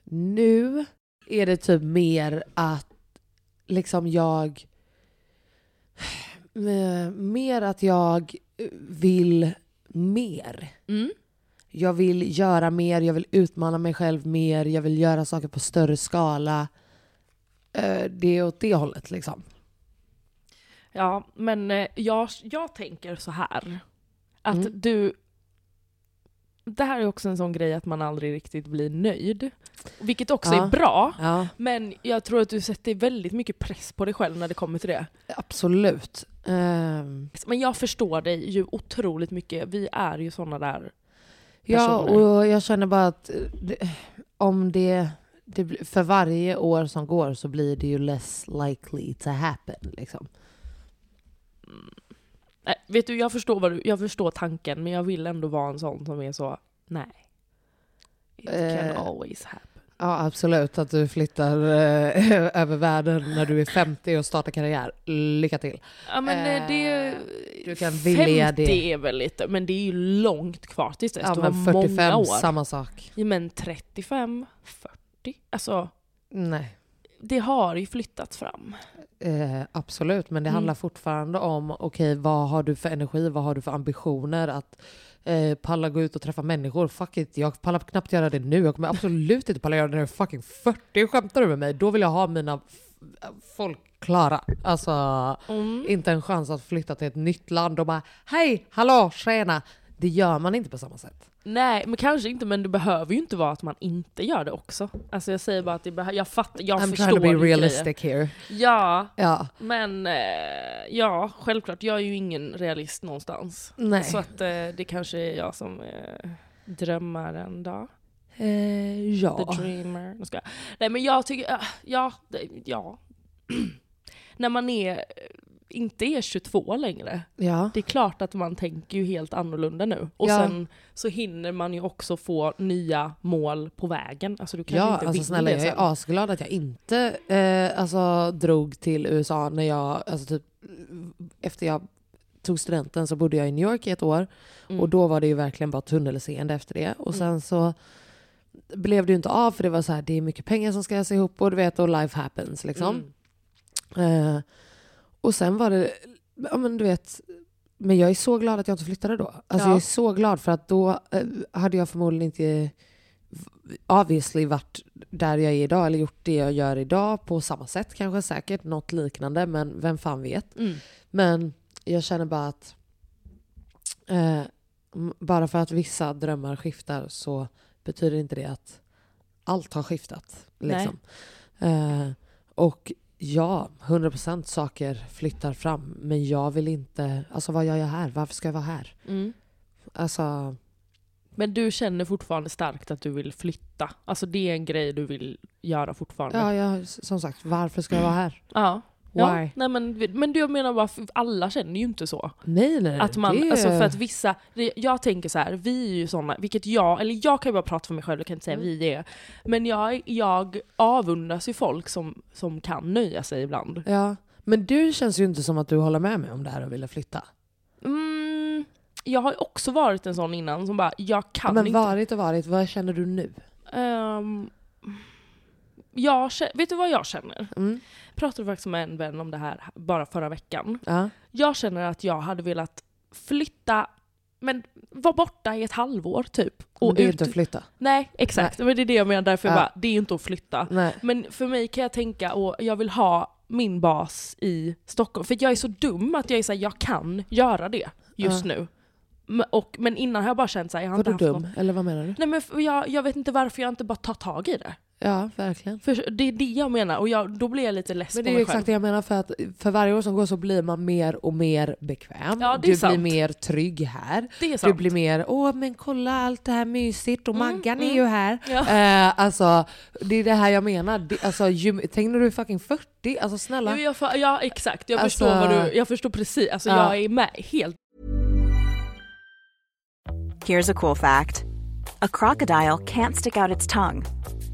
S2: Nu är det typ mer att liksom jag... eh, Mer att jag eh, vill mer.
S1: Mm.
S2: Jag vill göra mer, jag vill utmana mig själv mer, jag vill göra saker på större skala. Eh, Det är åt det hållet liksom.
S1: Ja, men eh, jag, jag tänker så här. Att
S2: Mm.
S1: du... Det här är också en sån grej att man aldrig riktigt blir nöjd. Vilket också
S2: Ja.
S1: är bra.
S2: Ja.
S1: Men jag tror att du sätter väldigt mycket press på dig själv när det kommer till det.
S2: Absolut. Ehm,
S1: Men jag förstår dig ju otroligt mycket. Vi är ju såna där...
S2: ja,
S1: personer.
S2: och jag känner bara att eh, det, om det, det... blir- För varje år som går så blir det ju less likely to happen. Liksom.
S1: Nej, Äh, vet du, jag förstår, vad du, jag förstår tanken men jag vill ändå vara en sån som är så... Nej. It can
S2: Eh.
S1: always happen.
S2: Ja, absolut. Att du flyttar eh, över världen när du är 50 och startar karriär. Lycka till.
S1: Ja, men eh, det...
S2: Eh, du kan vilja det.
S1: 50 är väl lite, men det är ju långt kvar tills dess.
S2: Ja,
S1: det
S2: men
S1: var många
S2: 45,
S1: år.
S2: samma sak.
S1: Ja, men 35, 40. Alltså,
S2: Nej,
S1: det har ju flyttats fram.
S2: eh, absolut. Men det
S1: Mm.
S2: handlar fortfarande om, okej, vad har du för energi? Vad har du för ambitioner? Att eh, palla gå ut och träffa människor? Fuck it, jag pallar knappt göra det nu. Jag kommer absolut inte palla göra det när jag är fucking 40. Skämtar du med mig? Då vill jag ha mina f- folk klara. Alltså...
S1: Mm.
S2: inte en chans att flytta till ett nytt land och bara hej, hallå, tjena. Det gör man inte på samma sätt.
S1: Nej, men kanske inte, men det behöver ju inte vara att man inte gör det också. Alltså jag säger bara att det behö- jag fattar, jag
S2: I'm
S1: förstår
S2: trying to be
S1: din grej.
S2: realistic here.
S1: Ja,
S2: Ja,
S1: men eh, ja, självklart. Jag är ju ingen realist någonstans.
S2: nej.
S1: Så att eh, det kanske är jag som eh, drömmer en dag.
S2: Eh, ja.
S1: The dreamer. Nu ska jag. Nej men jag tycker, ah, ja, det- ja. När man är, eh, inte är 22 längre,
S2: ja.
S1: det är klart att man tänker ju helt annorlunda nu. Och
S2: Ja.
S1: sen så hinner man ju också få nya mål på vägen. Alltså du kanske
S2: Ja,
S1: inte
S2: alltså
S1: vill
S2: snälla
S1: det
S2: jag är
S1: sen.
S2: asglad att jag inte eh, alltså, drog till USA när jag, alltså typ efter jag tog studenten så bodde jag i New York i ett år
S1: Mm.
S2: och då var det ju verkligen bara tunnelseende efter det. Och sen så blev det ju inte av för det var så här, det är mycket pengar som ska göras ihop och du vet och life happens liksom.
S1: Mm.
S2: Eh, och sen var det, ja men du vet, men jag är så glad att jag inte flyttade då. Alltså
S1: Ja.
S2: jag är så glad för att då eh, hade jag förmodligen inte v- obviously varit där jag är idag eller gjort det jag gör idag på samma sätt kanske säkert, något liknande men vem fan vet.
S1: Mm.
S2: Men jag känner bara att eh, m- bara för att vissa drömmar skiftar så betyder inte det att allt har skiftat. Liksom. Eh, och ja, 100% saker flyttar fram men jag vill inte, alltså vad gör jag här? Varför ska jag vara här?
S1: Mm.
S2: Alltså,
S1: Men du känner fortfarande starkt att du vill flytta. Alltså det är en grej du vill göra fortfarande.
S2: ja, jag, som sagt, varför ska jag vara här?
S1: Ja. Ja,
S2: Why?
S1: nej men, men jag menar bara, för alla känner ju inte så.
S2: Nej, nej.
S1: Att man,
S2: Eh, det är-
S1: alltså för att vissa, det, jag tänker så här, vi är ju sådana, vilket jag, eller jag kan ju bara prata för mig själv, jag kan inte
S2: Mm.
S1: säga vi är. Men jag, jag avundas ju folk som, som kan nöja sig ibland.
S2: ja. Men du känns ju inte som att du håller med mig om det här och ville flytta.
S1: Mm, jag har ju också varit en sån innan som bara, jag kan
S2: men
S1: inte.
S2: varit och varit, vad känner du nu?
S1: Ehm, jag, kä- vet du vad jag känner?
S2: Mm.
S1: Jag pratade faktiskt med en vän om det här bara förra veckan.
S2: Ja.
S1: Jag känner att jag hade velat flytta, men vara borta i ett halvår typ.
S2: Och
S1: Och
S2: det är ju
S1: ut,
S2: inte att flytta.
S1: Nej, exakt. Men det är det jag menar. Därför jag
S2: Ja.
S1: bara, det är ju inte att flytta.
S2: Nej.
S1: Men för mig kan jag tänka, och jag vill ha min bas i Stockholm. För jag är så dum att jag är så här, jag kan göra det just nu. Men- Och, men innan har jag bara känt såhär, jag har
S2: Var
S1: inte
S2: du
S1: haft
S2: dum?
S1: något.
S2: Eller vad menar du?
S1: Nej men f- jag, jag vet inte varför jag inte bara tar tag i det.
S2: Ja, verkligen.
S1: För det är det jag menar, och jag, då blir jag lite less
S2: Men
S1: på
S2: det är ju
S1: mig
S2: exakt
S1: själv.
S2: det jag menar, för att för varje år som går så blir man mer och mer bekväm.
S1: Ja, det är
S2: du
S1: sant.
S2: blir mer trygg här.
S1: Det är
S2: Du
S1: sant. Mm,
S2: blir mer, åh men kolla allt det här mysigt och Maggan är ju här.
S1: Ja.
S2: Eh, alltså, det är det här jag menar. Det, alltså, ju, tänk när du är fucking 40, alltså snälla.
S1: Jo, jag, fa- ja exakt, jag,
S2: Alltså-
S1: förstår vad du, jag förstår precis. Alltså
S2: Ja.
S1: jag är med helt.
S3: Here's a cool fact a crocodile can't stick out its tongue.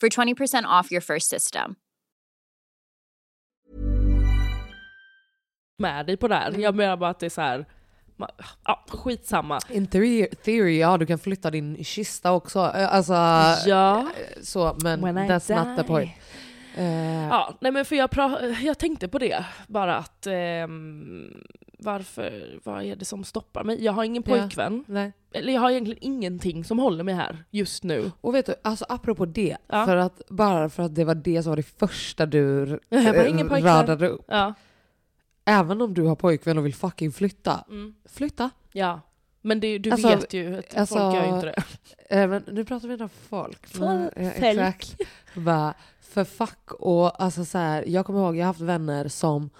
S4: for 20% off your first system.
S1: med dig på det
S2: Mm.
S1: här. Jag menar bara att det är så här. ma- Ja, skitsamma.
S2: In theory, theory, ja du kan flytta din kista också. Eh, Alltså,
S1: Ja.
S2: så, men
S1: When I
S2: that's not the
S1: die.
S2: point. Eh,
S1: Ja, nej men för jag, pra- jag tänkte på det bara att ehm, varför, vad är det som stoppar mig? Jag har ingen
S2: Ja.
S1: pojkvän,
S2: nej.
S1: eller jag har egentligen ingenting som håller mig här just nu.
S2: Och vet du, alltså apropå det,
S1: Ja.
S2: för att, bara för att det var det som var det första du r-
S1: Jag bara,
S2: eh,
S1: ingen pojkvän.
S2: radade upp.
S1: Ja,
S2: Även om du har pojkvän och vill fucking flytta, flytta.
S1: Mm. ja. men det, du
S2: Alltså,
S1: vet ju att
S2: alltså,
S1: folk gör ju inte det.
S2: Eh, men nu pratar vi inte om folk.
S1: Fol-
S2: Eh,
S1: folk.
S2: Exakt. Bara, för fuck och alltså så här, jag kommer ihåg, jag har haft vänner som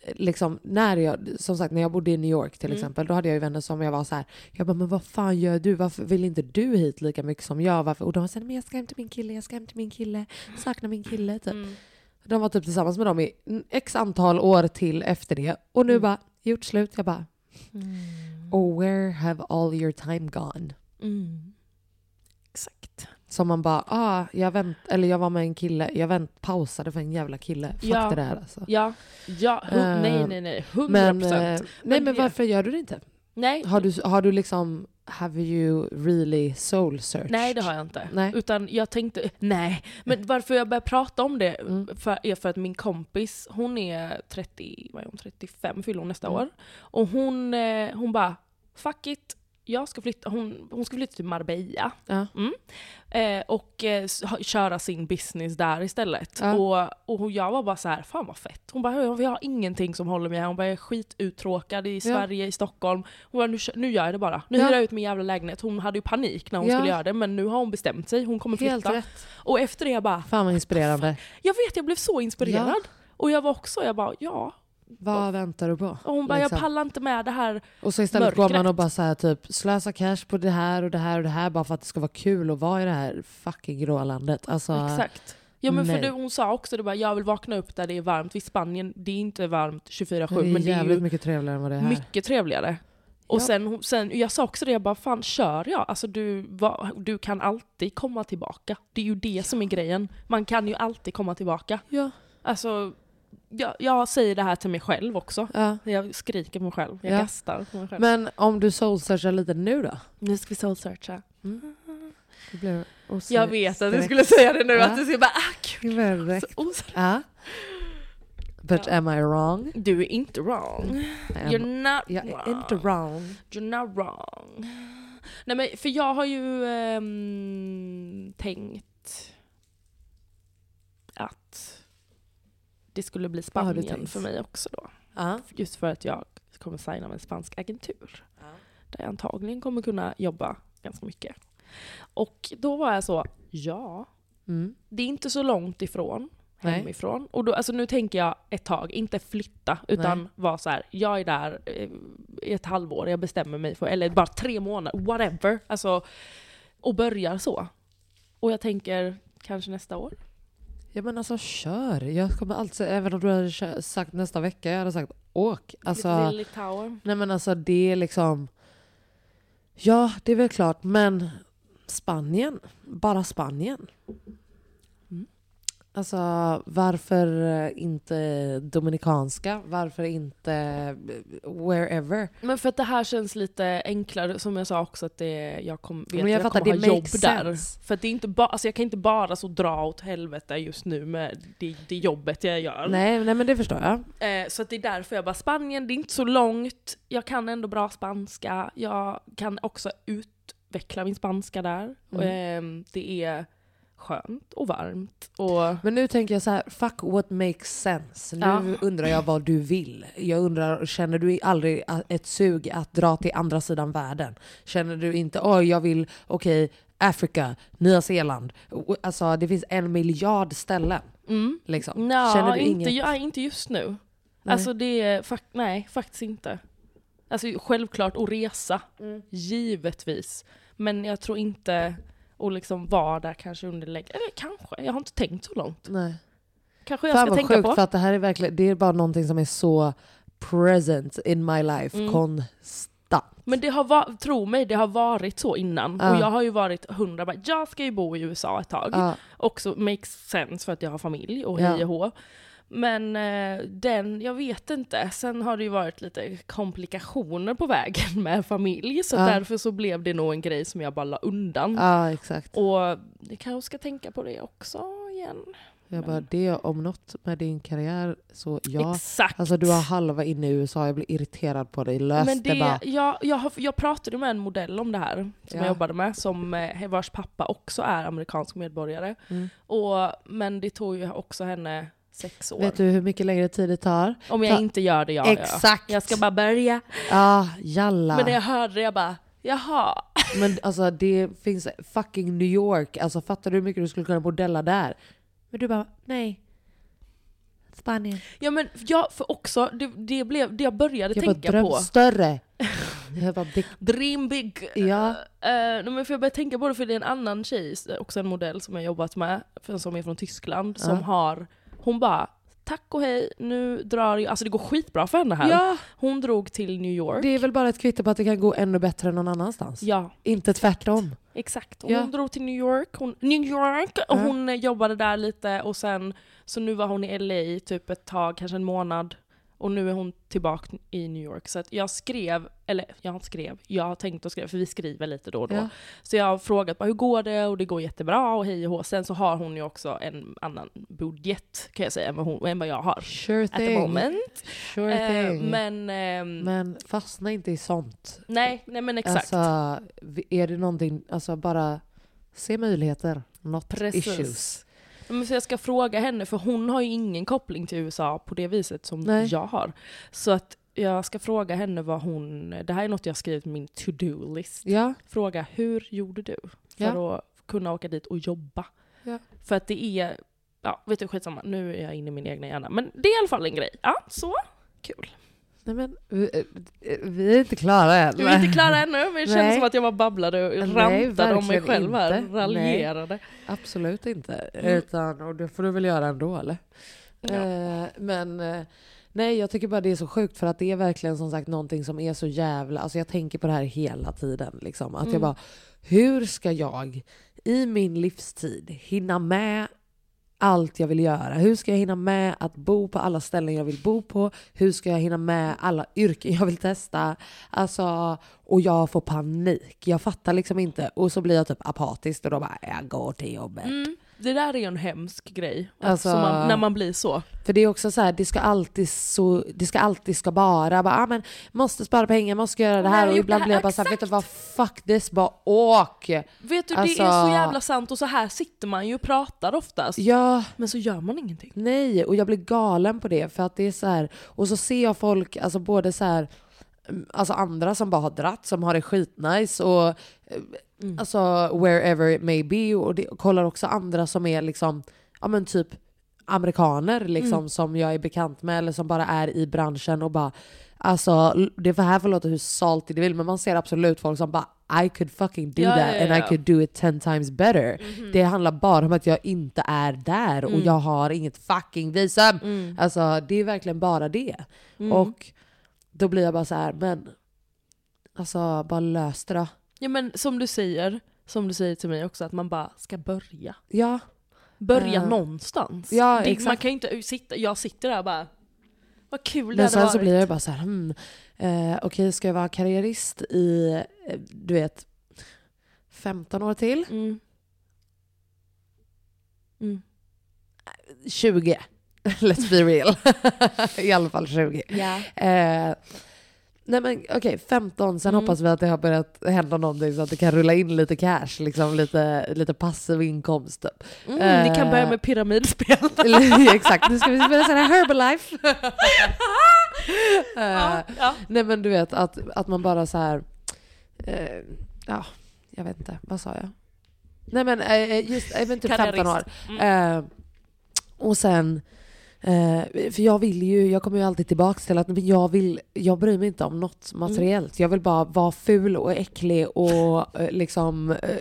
S2: eh, Liksom, när jag, som sagt, när jag bodde i New York till exempel, då hade jag ju vänner som jag var så här, jag bara, men vad fan gör du? Varför vill inte du hit lika mycket som jag? Varför? Och de var såhär, men jag ska hem till min kille, jag ska hem till min kille, saknar min kille. Typ. De var typ tillsammans med dem i n- x antal år till efter det. Och nu bara, gjort slut. Jag bara, oh where have all your time gone? Mm.
S1: Exakt.
S2: Som man bara, ah, jag, vänt, eller jag var med en kille, jag vänt, pausade för en jävla kille. Fuck
S1: Ja.
S2: det där alltså.
S1: Ja, ja hu-
S2: Eh,
S1: nej nej nej, hundra
S2: Men, eh,
S1: procent.
S2: nej, men
S1: det-
S2: varför gör du det inte?
S1: Nej,
S2: Har du, har du liksom, have you really soul searched?
S1: Nej det har jag inte.
S2: Nej.
S1: Utan jag tänkte, nej. Men varför jag började prata om det
S2: Mm.
S1: för, är för att min kompis, hon är 30, vad är hon, 35 fyller hon nästa
S2: Mm.
S1: år. Och hon, eh, hon bara, fuck it. Jag ska flytta, hon, hon ska flytta till Marbella
S2: Ja.
S1: mm. eh, och eh, s- ha- köra sin business där istället.
S2: Ja.
S1: Och, och hon- jag var bara så här, fan vad fett. Hon bara, jag, jag har ingenting som håller mig här. Hon bara, jag är skituttråkad i Sverige, i Stockholm. Hon bara, nu, kö- nu gör jag det bara. Nu
S2: Ja.
S1: hyr jag ut min jävla lägenhet. Hon hade ju panik när hon
S2: Ja.
S1: skulle göra det, men nu har hon bestämt sig. Hon kommer
S2: Helt
S1: flytta.
S2: rätt.
S1: Och efter det jag bara,
S2: Fan vad inspirerande.
S1: jag vet jag blev så inspirerad. Och jag var också, jag bara ja.
S2: Vad väntar du på?
S1: Och hon bara,
S2: Liksom.
S1: jag pallar inte med det här.
S2: och så istället går man
S1: mörkret.
S2: och bara så här, typ slösa cash på det här och det här och det här bara för att det ska vara kul att vara i det här fucking gråa landet. Alltså,
S1: Exakt. Ja men för
S2: nej.
S1: du, hon sa också det bara, jag vill vakna upp där det är varmt. Vid Spanien, det är inte varmt 24-7
S2: Det är
S1: men det är
S2: jävligt
S1: ju
S2: mycket trevligare än vad det är här.
S1: mycket trevligare. Och
S2: Ja.
S1: sen, hon- sen, jag sa också det, jag bara fan kör jag? Alltså du, va, du kan alltid komma tillbaka. Det är ju det som är grejen. Man kan ju alltid komma tillbaka.
S2: Ja.
S1: Alltså, jag, jag säger det här till mig själv också.
S2: Ja.
S1: Jag skriker på mig själv, jag
S2: Ja.
S1: gastar på mig själv.
S2: Men om du soulsearchar lite nu då?
S1: nu ska vi soulsearcha.
S2: Det blev osö-
S1: Jag vet att du
S2: direkt-
S1: skulle säga det nu,
S2: Ja.
S1: att du skulle bara ah gud.
S2: Det blev direkt.
S1: Så osö-
S2: Ja. But am I wrong?
S1: Du är inte wrong.
S2: Am-
S1: You're not
S2: Mm. jag
S1: wrong.
S2: är inte wrong.
S1: You're not wrong. Nej men för jag har ju ehm, tänkt att det skulle bli
S2: Vad har du
S1: Spanien
S2: tänkt?
S1: för mig också då.
S2: Ja.
S1: Just för att jag kommer signa med en spansk agentur. Där jag antagligen kommer kunna jobba ganska mycket. Och då var jag så, ja.
S2: Mm.
S1: Det är inte så långt ifrån
S2: Nej.
S1: hemifrån. Och då, alltså nu tänker jag ett tag, inte flytta, utan
S2: Nej.
S1: vara så här, jag är där eh, i ett halvår, jag bestämmer mig för, eller bara tre månader, whatever. Alltså, och börjar så. Och jag tänker kanske nästa år.
S2: ja men alltså kör. Jag kommer alltid, även om du hade kö- sagt nästa vecka, jag hade sagt åk.
S1: Lite
S2: Alltså,
S1: till Litauen.
S2: nej men alltså det är liksom... Ja, det är väl klart, men Spanien. Bara Spanien. Alltså varför eh, inte Dominikanska? Varför inte eh, wherever?
S1: Men för att det här känns lite enklare, som jag sa också att det, jag kom, vet
S2: Men
S1: att
S2: jag
S1: jag,
S2: fattar,
S1: kommer
S2: det
S1: ha jobb
S2: makes sense.
S1: där. För att det är inte ba, alltså jag kan inte bara så dra åt helvete just nu med det, det jobbet jag gör.
S2: Nej, nej men det förstår jag.
S1: Eh, så att det är därför jag bara, Spanien, det är inte så långt, jag kan ändå bra spanska, jag kan också utveckla min spanska där.
S2: Mm.
S1: Ehm, det är skönt och varmt. Och
S2: Men nu tänker jag så här, fuck what makes sense. Nu
S1: Ja.
S2: undrar jag vad du vill. Jag undrar, känner du aldrig a- ett sug att dra till andra sidan världen? Känner du inte, åh jag vill, okej, Afrika, Nya Zeeland. O- Alltså det finns en miljard ställen. Liksom. Känner du
S1: Nej, Mm. inte,
S2: inget?
S1: ja, inte just nu. Alltså det är, fak- nej faktiskt inte. Alltså självklart att resa,
S2: Mm.
S1: givetvis. Men jag tror inte att liksom vara där kanske under läge. Eller kanske, jag har inte tänkt så långt.
S2: Nej.
S1: Kanske jag
S2: Fan
S1: ska
S2: vad
S1: tänka
S2: sjukt
S1: på.
S2: för att det här är verkligen, det är bara någonting som är så present in my life
S1: Mm.
S2: konstant.
S1: Men det har va- tro mig, det har varit så innan. Och jag har ju varit hundra bara, jag ska ju bo i USA ett tag.
S2: Ja.
S1: Också makes sense för att jag har familj och
S2: Ja.
S1: hej och hå. Men eh, den, jag vet inte. Sen har det ju varit lite komplikationer på vägen med familj. Så
S2: Ja.
S1: därför så blev det nog en grej som jag bara la undan.
S2: Ja exakt.
S1: Och jag kanske ska tänka på det också igen.
S2: Jag bara, det om något med din karriär så ja.
S1: Exakt!
S2: Alltså du har halva inne i USA, jag blir irriterad på dig. Lös
S1: Men
S2: det, bara.
S1: det, jag, jag, har, jag pratade med en modell om det här, som
S2: Ja.
S1: jag jobbade med, som, eh, vars pappa också är amerikansk medborgare.
S2: Mm.
S1: Och, men det tog ju också henne sex år.
S2: Vet du hur mycket längre tid det tar?
S1: om jag
S2: Ta-
S1: inte gör det, jag
S2: Exakt.
S1: Jag. jag ska bara börja.
S2: Ja, jalla.
S1: Men när jag hörde det, jag bara, jaha.
S2: Men alltså det finns fucking New York. Alltså fattar du hur mycket du skulle kunna modella där? Men du bara, nej. Spanien.
S1: Ja men jag, för också, det, det blev, det jag började
S2: Jag bara,
S1: tänka
S2: dröm
S1: på.
S2: större. jag bara, big.
S1: Dream big.
S2: Ja.
S1: Eh, nej, men för jag började tänka på det för det är en annan tjej, också en modell som jag jobbat med, för- som är från Tyskland, som har, hon bara Tack och hej, nu drar jag, alltså det går skitbra för henne här.
S2: Ja.
S1: Hon drog till New York.
S2: Det är väl bara ett kvitto på att det kan gå ännu bättre än någon annanstans?
S1: Ja,
S2: Inte tvärtom.
S1: exakt. Och
S2: Ja.
S1: Hon drog till New York, hon, New York och hon eh, jobbade där lite och sen, så nu var hon i LA typ ett tag, kanske en månad. Och nu är hon tillbaka i New York. Så att jag skrev, eller jag skrev, jag har tänkt att skriva, för vi skriver lite då och då.
S2: Ja.
S1: Så jag har frågat bara, hur går det och det går jättebra och hej och hå. Sen så har hon ju också en annan budget kan jag säga än vad, hon, än vad jag har.
S2: Sure
S1: At the
S2: thing.
S1: moment.
S2: Sure
S1: Eh,
S2: thing. Men,
S1: men, ehm,
S2: fastna inte i sånt.
S1: nej, nej men exakt.
S2: Alltså, vi- är det någonting, alltså bara se möjligheter. Not
S1: Precis.
S2: issues.
S1: Men så jag ska fråga henne, för hon har ju ingen koppling till USA på det viset som
S2: Nej.
S1: jag har. Så att jag ska fråga henne vad hon... Det här är något jag har skrivit på min to-do-list.
S2: Ja,
S1: Fråga, hur gjorde du för
S2: Ja.
S1: att kunna åka dit och jobba?
S2: Ja.
S1: För att det är... Ja, vet du, skitsamma. Nu är jag inne i min egna hjärna. Men det är i alla fall en grej. Ja, så. Kul.
S2: nej men vi, eh, vi är inte klara än.
S1: Du är inte klara ännu, men det kändes
S2: Nej.
S1: som att jag bara babblade och
S2: Nej,
S1: rantade om mig
S2: verkligen
S1: själv här.
S2: inte.
S1: Raljerade.
S2: Absolut inte. Utan, och det får du väl göra ändå eller?
S1: Mm. Ja.
S2: Eh, men eh, nej, jag tycker bara det är så sjukt för att det är verkligen som sagt någonting som är så jävla... Alltså jag tänker på det här hela tiden. Liksom. Att
S1: Mm.
S2: jag bara, hur ska jag i min livstid hinna med allt jag vill göra. Hur ska jag hinna med att bo på alla ställen jag vill bo på? Hur ska jag hinna med alla yrken jag vill testa? Alltså, och jag får panik. Jag fattar liksom inte. Och så blir jag typ apatisk och då bara, jag går till jobbet.
S1: Det där är ju en hemsk grej. Alltså...
S2: Alltså-
S1: Man, när man blir så.
S2: För det är också så här, det ska alltid, så, det ska, alltid ska bara, bara ah, men måste spara pengar, måste göra det
S1: Och när
S2: här.
S1: jag
S2: Och
S1: gjort
S2: ibland
S1: det här-
S2: blir jag bara såhär, vet du vad, fuck this, bara åk!
S1: Vet du,
S2: Alltså-
S1: det är så jävla sant och så här sitter man ju och pratar oftast.
S2: Ja,
S1: Men så gör man ingenting.
S2: Nej, och jag blir galen på det för att det är så här, och så ser jag folk, alltså både så här, mm, alltså andra som bara har dratt, som har det skitnice och eh,
S1: Mm.
S2: alltså wherever it may be och det, och kollar också andra som är liksom, ja men typ amerikaner liksom
S1: Mm.
S2: som jag är bekant med eller som bara är i branschen och bara Alltså det för här får låta hur salty det vill men man ser absolut folk som bara I could fucking do
S1: Ja,
S2: that
S1: ja, ja,
S2: and I
S1: ja. Mhm.
S2: could do it ten times better. Det handlar bara om att jag inte är där
S1: Mm.
S2: och jag har inget fucking visum. Alltså det är verkligen bara det.
S1: Mm.
S2: Och då blir jag bara så här, men alltså bara lös det då.
S1: Ja men som du säger, som du säger till mig också, att man bara ska börja.
S2: Ja,
S1: Börja
S2: Eh.
S1: någonstans.
S2: Ja,
S1: det, man
S2: exakt.
S1: kan ju inte sitta, jag sitter där och bara, vad kul det
S2: men
S1: hade
S2: sen
S1: varit.
S2: så blir jag bara så här, hmm, eh, okej ska jag vara karriärist i, eh, du vet, 15 år till?
S1: Mm. Mm.
S2: 20. Let's be real. I alla fall 20.
S1: Ja.
S2: Eh, Nej men okej, 15. Sen hoppas vi att det har börjat hända någonting så att det kan rulla in lite cash, liksom lite, lite passiv inkomst. Typ.
S1: Mm, ni kan
S2: Eh,
S1: börja med pyramidspel.
S2: eller- Exakt, nu ska vi spela sån här Herbalife. Eh,
S1: ja.
S2: Nej men du vet att, att man bara så här. eh, ja, jag vet inte. Vad sa jag? Nej men eh, just, jag vet inte,
S1: Karriärist. Mm.
S2: 15 år. Eh, och sen, eh, för jag vill ju, jag kommer ju alltid tillbaka till att men jag vill, jag bryr mig inte om något
S1: Mm.
S2: materiellt. Jag vill bara vara ful och äcklig och eh, liksom eh,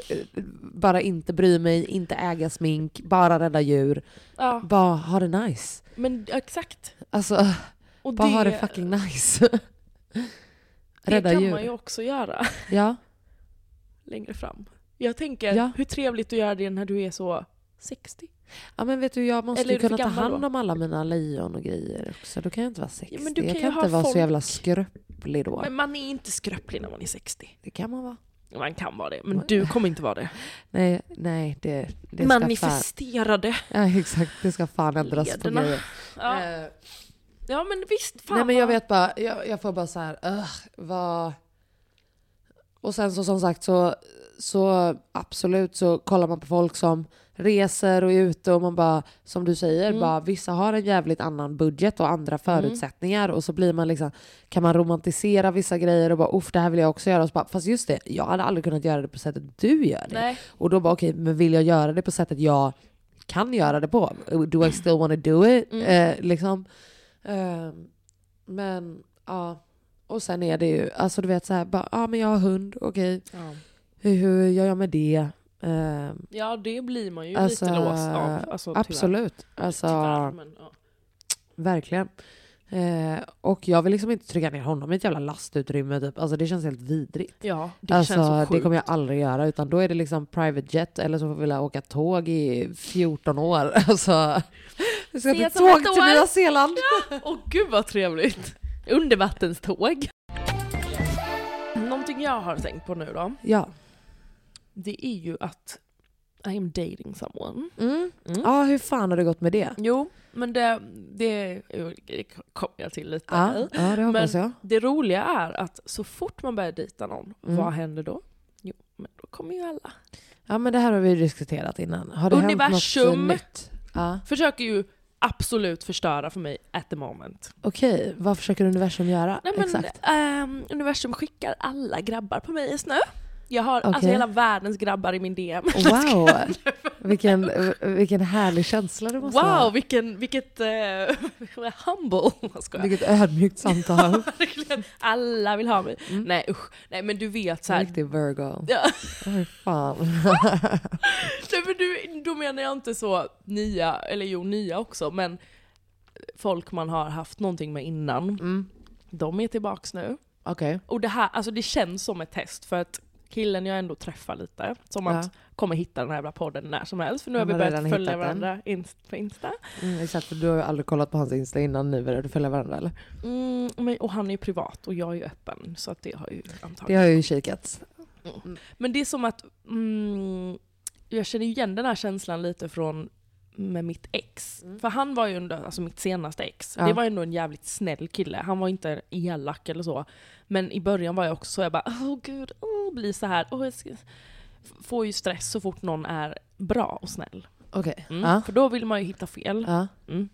S2: bara inte bry mig, inte äga smink, bara rädda djur.
S1: Ja,
S2: Bara ha det nice.
S1: men exakt.
S2: Alltså,
S1: Och
S2: bara ha det fucking nice.
S1: det
S2: rädda
S1: kan
S2: djur.
S1: man ju också göra
S2: Ja.
S1: längre fram. Jag tänker,
S2: Ja.
S1: hur trevligt att göra det när du är så 60.
S2: Ja men vet du, jag måste
S1: Eller är
S2: ju
S1: du för
S2: kunna ta
S1: gammal
S2: hand
S1: då?
S2: om alla mina lejon och grejer också. Då kan jag inte vara 60.
S1: Ja, men du
S2: jag
S1: kan ju
S2: kan
S1: ha
S2: inte vara
S1: folk.
S2: så jävla skröplig då.
S1: Men man är inte skröplig när man är 60.
S2: Det kan man vara.
S1: Man kan vara det, men du kommer inte vara det.
S2: Nej, nej det, Mm. det ska fan...
S1: Manifesterade.
S2: Ja, exakt, det ska fan ändras på
S1: Lederna.
S2: grejer.
S1: Ja.
S2: Eh,
S1: ja men visst, fan
S2: nej men jag
S1: vad-
S2: vet bara, jag, jag får bara så här, "Ugh, vad... Och sen så som sagt så, så absolut så kollar man på folk som reser och är ute och man bara, som du säger,
S1: Mm.
S2: bara vissa har en jävligt annan budget och andra förutsättningar och så blir man liksom, kan man romantisera vissa grejer och bara uff det här vill jag också göra och så bara, fast just det, jag hade aldrig kunnat göra det på sättet du gör det.
S1: Nej.
S2: Och då bara okej, men vill jag göra det på sättet jag kan göra det på? Do I still wanna do it?
S1: Mm.
S2: Eh, liksom. Ehm, men ja, och sen är det ju, alltså du vet så här, bara, ja men jag har hund, okej,
S1: Ja.
S2: hur, hur gör jag med det? Ehm,
S1: Ja, det blir man ju
S2: Alltså,
S1: lite låst av. Alltså, tyvärr.
S2: absolut, alltså
S1: Tyvärr, men, ja.
S2: verkligen. Eh, och jag vill liksom inte trycka ner honom i ett jävla lastutrymme typ, alltså det känns helt vidrigt.
S1: ja, det
S2: Det alltså
S1: känns så
S2: det
S1: sjukt.
S2: kommer jag aldrig göra utan då är det liksom private jet eller så får vi åka tåg i 14 år. Alltså, vi ska till
S1: Ses om ett
S2: tåg till
S1: år.
S2: Nya Zeeland.
S1: Åh gud vad trevligt! Undervattenståg. Någonting jag har tänkt på nu då,
S2: Ja.
S1: det är ju att I am dating someone.
S2: Mm. Ja, hur fan har det gått med det?
S1: Jo, men det, det det kommer jag till lite.
S2: Ja, ja det hoppas
S1: Men-
S2: jag.
S1: Det roliga är att så fort man börjar dejta någon,
S2: Mm.
S1: vad händer då? Jo, men då kommer ju alla.
S2: Ja men det här har vi ju diskuterat innan. Har det hänt
S1: Universum.
S2: något nytt? Ja.
S1: Försöker ju absolut förstöra för mig at the moment.
S2: Okej, vad försöker universum göra?
S1: Nej, men,
S2: Exakt.
S1: ehm, universum skickar alla grabbar på mig just nu. Jag har alltså
S2: Okej.
S1: hela världens grabbar i min DM.
S2: Wow, vilken, vilken härlig känsla det måste
S1: Wow,
S2: vara.
S1: vilken, vilket eh, humble. Jag skojar.
S2: Vilket ödmjukt samtal.
S1: Verkligen. alla vill ha mig. Nej usch. Nej men du vet så här.
S2: Riktig Virgo.
S1: Ja,
S2: Oj, fan.
S1: nej, men du, då menar jag inte så nya, eller jo nya också, men folk man har haft någonting med innan.
S2: Mm.
S1: De är tillbaks nu.
S2: Okej.
S1: Och det här, alltså det känns som ett test för att killen jag ändå träffar lite, som
S2: Ja.
S1: att kommer hitta den här jävla podden när som helst. För nu har
S2: Han
S1: vi
S2: har
S1: börjat
S2: redan
S1: följa
S2: hittat den.
S1: varandra inst- på Insta.
S2: Mm, exakt, för du har ju aldrig kollat på hans Insta innan ni började följa varandra eller?
S1: Mm, men, och han är ju privat och jag är ju öppen. Så att det har ju
S2: Det
S1: antagligen.
S2: har ju kikats.
S1: Men det är som att, mm, jag känner ju igen den här känslan lite från med mitt ex. För han var ju ändå, alltså mitt senaste ex,
S2: Mm. Ja.
S1: det var ju ändå en jävligt snäll kille. Han var inte elak eller så. Men i början var jag också så, jag bara åh gud, åh, blir så här. Åh, jag ska... F- Får ju stress så fort någon är bra och snäll.
S2: Okej.
S1: Mm.
S2: Ja.
S1: För då vill man ju hitta fel.
S2: Ja.
S1: Mm.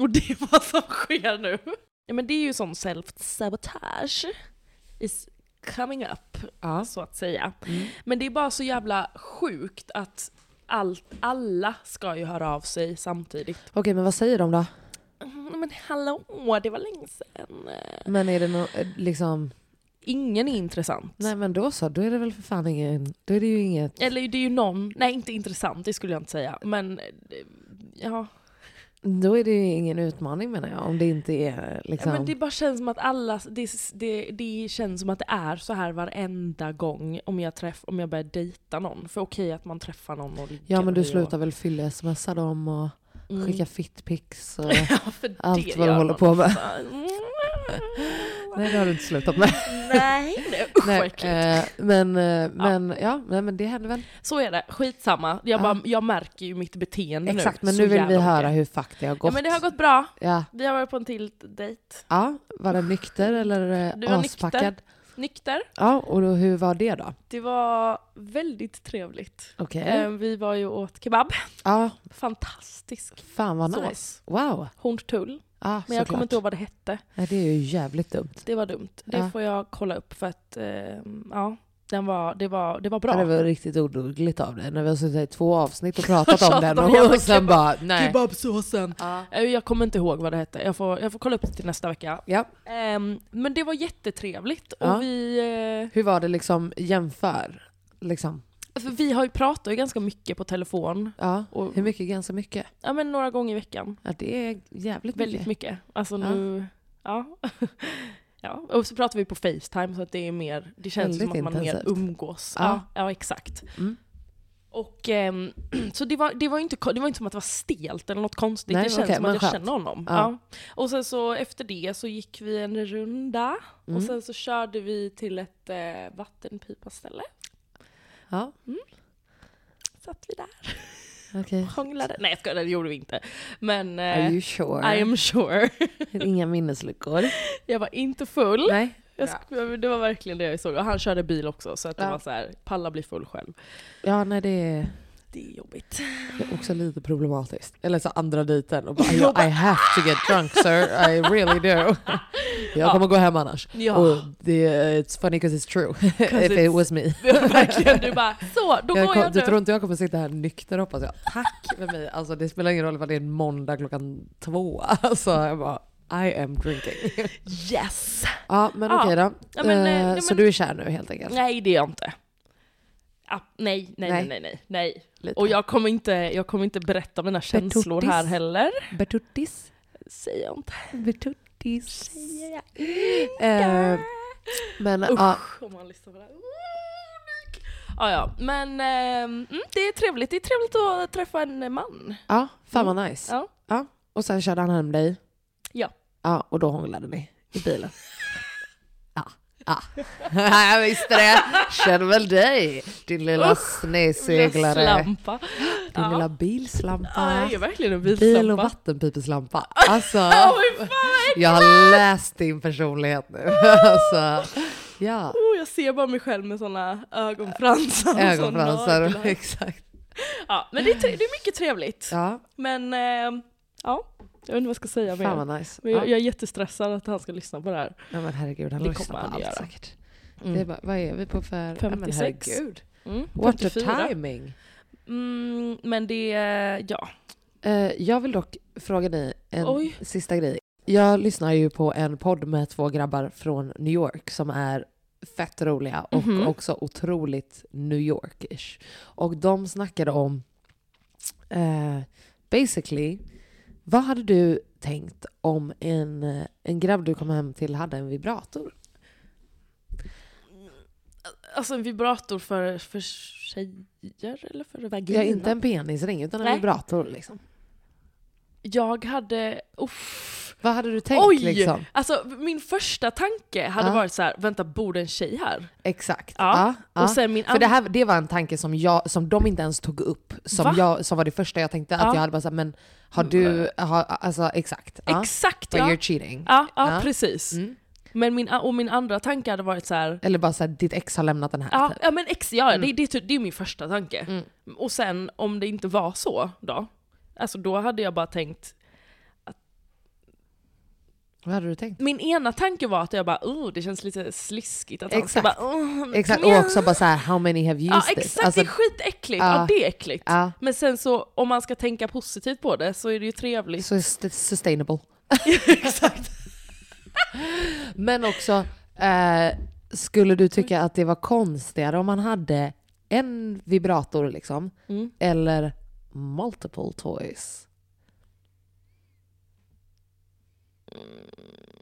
S1: Och det är vad som sker nu. Ja, men det är ju sån self-sabotage is coming up, så att säga. Men det är bara så jävla sjukt att allt, alla ska ju höra av sig samtidigt.
S2: Okej, men vad säger de då?
S1: Mm, Men hallå, det var länge sedan.
S2: Men är det nå liksom...
S1: Ingen är intressant.
S2: Nej men då så, då är det väl för fan ingen... Då är det ju inget...
S1: Eller det är ju någon, nej inte intressant, det skulle jag inte säga. Men eh, ja,
S2: Då är det ju ingen utmaning menar jag, om det inte är liksom...
S1: Ja, men det bara känns som att alla, det, det, det känns som att det är så här varenda gång om jag, träff, om jag börjar dejta någon. För okej att man träffar någon och ligger
S2: Ja men du
S1: och-
S2: slutar väl fylla smsa dem och
S1: Mm.
S2: skicka fittpics och
S1: Ja, för
S2: allt
S1: det
S2: vad du
S1: gör
S2: håller
S1: man.
S2: på med.
S1: Mm,
S2: Nej, det har du inte slutat med.
S1: Nej, nej. Usch, vad
S2: Nej,
S1: äckligt.
S2: eh, men, eh, men ja, nej, men det händer väl.
S1: Så är det, skitsamma. Jag, bara, jag märker ju mitt beteende nu.
S2: Exakt, men
S1: så
S2: nu vill vi
S1: jävla
S2: höra
S1: mycket.
S2: hur fuck det har gått.
S1: Ja men det har gått bra.
S2: Ja.
S1: Vi har varit på en till dejt.
S2: Ja, var den nykter eller
S1: Du
S2: eh,
S1: var nykter.
S2: aspackad?
S1: Nykter.
S2: Ja, och då, hur var det då?
S1: Det var väldigt trevligt.
S2: Okej.
S1: Eh, Vi var ju och åt kebab.
S2: Ja,
S1: Fantastisk
S2: fan vad
S1: sås.
S2: nice. Wow.
S1: Hornstull.
S2: Ja,
S1: Men jag kommer inte ihåg vad det hette.
S2: Nej, det är ju jävligt dumt.
S1: Det var dumt. Det
S2: Ja.
S1: får jag kolla upp för att eh, ja, den var, det, var, det var bra.
S2: Ja, Det var riktigt odugligt av dig när vi har suttit här i två avsnitt och pratat om
S1: Tjatat
S2: den
S1: om jävla
S2: och sen
S1: kebab-
S2: bara nej.
S1: Kebabsåsen. Eh, Jag kommer inte ihåg vad det hette. Jag får, jag får kolla upp det till nästa vecka.
S2: Ja.
S1: Ehm, men det var jättetrevligt. Och
S2: Ja.
S1: vi, eh,
S2: Hur var det liksom jämför? Liksom.
S1: för alltså, vi har ju pratat ju ganska mycket på telefon.
S2: Ja.
S1: Och,
S2: Hur mycket? Ganska mycket?
S1: ja, men några gånger i veckan.
S2: Ja, det är jävligt
S1: Väldigt
S2: mycket.
S1: mycket. Alltså nu... Ja. ja. Och så pratar vi på Facetime så att det är mer... Det känns som att
S2: Väldigt
S1: man mer
S2: intensivt.
S1: umgås.
S2: Ja.
S1: Ja, ja, exakt.
S2: Mm.
S1: Och ehm, så det var, det, var ju inte, ko- det var inte som att det var stelt eller något konstigt.
S2: Nej,
S1: det känns
S2: okej,
S1: som
S2: men
S1: att jag
S2: skönt.
S1: känner honom.
S2: Ja.
S1: Ja. Och sen så efter det så gick vi en runda
S2: Mm.
S1: och sen så körde vi till ett eh, vattenpipaställe.
S2: Ja,
S1: Satt vi där
S2: okej.
S1: och hånglade. Nej jag skojar, det gjorde vi inte. Men
S2: Are
S1: eh,
S2: you sure?
S1: I am sure.
S2: Inga minnesluckor?
S1: jag var inte full.
S2: nej.
S1: Jag sk- det var verkligen det jag såg. Och han körde bil också, så att
S2: Ja.
S1: det var så här, palla bli full själv.
S2: Ja, nej det är...
S1: Det är jobbigt.
S2: Det är också lite problematiskt. Eller så andra dejten och bara
S1: Jag bara,
S2: I have to get drunk sir, I really do. Jag kommer gå hem annars.
S1: Ja.
S2: Och det, it's funny because it's true. If it
S1: it's-
S2: was me.
S1: verkligen, du bara, så, då
S2: Jag
S1: går
S2: kom,
S1: jag
S2: du
S1: nu.
S2: tror inte jag kommer sitta här nykter hoppas jag. Tack med mig. Alltså, det spelar ingen roll vad det är en måndag klockan två. Alltså, jag bara, I am drinking.
S1: Yes!
S2: Ja men
S1: Ja.
S2: okej då.
S1: Ja, men, eh,
S2: Eh,
S1: nej,
S2: Så
S1: men-
S2: du är kär nu helt enkelt?
S1: Nej, det är jag inte. Ah, nej, nej,
S2: Nej.
S1: nej, nej, nej, nej.
S2: Lite.
S1: Och jag kommer, inte, jag kommer inte berätta mina känslor
S2: Bertottis.
S1: här heller.
S2: Bertuttis?
S1: Säger jag inte.
S2: Bertuttis?
S1: Säger jag
S2: Eh,
S1: inte.
S2: men
S1: Usch,
S2: ja.
S1: om man lyssnar på det här. Mm, dyk. Ja, ja, men ehm, mm, det är trevligt. Det är trevligt att träffa en man.
S2: Ja, fan vad nice.
S1: Ja.
S2: Och sen körde han hem dig?
S1: Ja.
S2: Ja, och då hånglade ni i bilen? Ja. ja. Jag visste det. Känner väl dig, din lilla
S1: Lilla
S2: sneseglare. Din
S1: Slampa. Ja.
S2: lilla
S1: Ja,
S2: bilslampa.
S1: jag är verkligen en
S2: Bil och
S1: bilslampa.
S2: vattenpipeslampa. Alltså,
S1: Oj, fan, äckligt.
S2: jag har läst din personlighet nu. Alltså, ja.
S1: Oh, jag ser bara mig själv med såna ögonfransar.
S2: Alltså,
S1: och såna
S2: Ögonfransar,
S1: naglar.
S2: exakt.
S1: Ja, men det är, tre- det är mycket trevligt.
S2: Ja,
S1: Men eh, ja, jag vet inte vad jag ska säga mer.
S2: fan vad nice.
S1: Men jag,
S2: Ja.
S1: jag är jättestressad att han ska lyssna på det här.
S2: Ja, men herregud, han
S1: Det
S2: lyssnar
S1: kommer
S2: på
S1: han
S2: allt
S1: göra.
S2: säkert.
S1: Mm.
S2: Det är bara, vad är vi på för... Ja, men
S1: 56.
S2: herregud.
S1: Mm,
S2: What a
S1: 54.
S2: timing.
S1: Mm, men det, eh, ja.
S2: Eh, jag vill dock fråga dig en
S1: Oj.
S2: sista grej. Jag lyssnar ju på en podd med två grabbar från New York som är fett roliga och
S1: Mhm.
S2: också otroligt New Yorkish. Och de snackade om, eh, basically, vad hade du tänkt om en, en grabb du kom hem till hade en vibrator?
S1: Alltså en vibrator för, för tjejer eller för vagina?
S2: Ja, inte en penisring utan en
S1: Nej.
S2: vibrator liksom.
S1: Jag hade, uff.
S2: Vad hade du tänkt
S1: Oj!
S2: liksom?
S1: Alltså min första tanke hade
S2: Ja.
S1: varit så här: vänta bor det en tjej här?
S2: Exakt.
S1: Ja.
S2: Ja,
S1: Och
S2: ja.
S1: sen min
S2: För det, här, det var en tanke som, jag, som de inte ens tog upp, som,
S1: Va?
S2: jag, som var det första jag tänkte. Att
S1: Ja.
S2: jag hade bara såhär, men har du, har, alltså exakt. Ja.
S1: Exakt
S2: But
S1: ja.
S2: you're cheating.
S1: Ja, ja,
S2: Ja.
S1: precis.
S2: Mm.
S1: Men min, och min andra tanke hade varit så här.
S2: Eller bara såhär, ditt ex har lämnat den här.
S1: Ja,
S2: typ. Mm.
S1: ja men ex, ja, det, det, är typ- det är min första tanke. Och sen om det inte var så då, alltså då hade jag bara tänkt,
S2: Vad hade du tänkt?
S1: min ena tanke var att jag bara oh det känns lite sliskigt att han ska
S2: Exakt.
S1: bara oh,
S2: Exakt,
S1: mjau."
S2: och också bara såhär, how many have
S1: Ja
S2: used this?
S1: exakt,
S2: Alltså,
S1: det är skitäckligt.
S2: Ja.
S1: Ja. det är äckligt.
S2: Ja.
S1: Men sen så om man ska tänka positivt på det så är det ju trevligt.
S2: så st- Alltså, sustainable. exakt. Men också, eh, skulle du tycka att det var konstigare om man hade en vibrator liksom,
S1: Mm.
S2: eller multiple toys?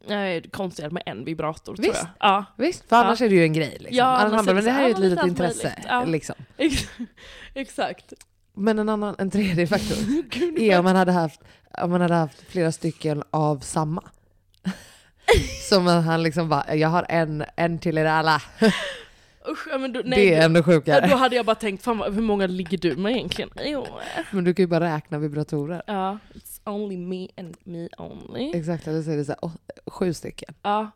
S1: Nej, det är konstigare med en vibrator tror
S2: Visst.
S1: jag. Ja.
S2: Visst, för
S1: Ja.
S2: annars är det ju en grej. Liksom.
S1: Ja,
S2: annars
S1: annars
S2: handlar
S1: är
S2: det,
S1: det
S2: men det
S1: så
S2: här
S1: här,
S2: är ett
S1: ja, men
S2: litet
S1: allt möjligt.
S2: intresse.
S1: Ja.
S2: Liksom.
S1: Ex- Exakt.
S2: Men en, annan, en tredje faktor
S1: Gud,
S2: är om man, hade haft, om man hade haft flera stycken av samma. Som att han liksom bara, jag har en, en till er alla.
S1: Usch, ja, men då, nej,
S2: det är ännu
S1: Ja, Då
S2: sjukare.
S1: hade jag bara tänkt, fan vad, hur många ligger du med egentligen? Jo.
S2: Men du kan ju bara räkna vibratorer.
S1: Ja, it's only me and me only.
S2: Exakt, då säger det så här, åh, sju stycken.
S1: Ja.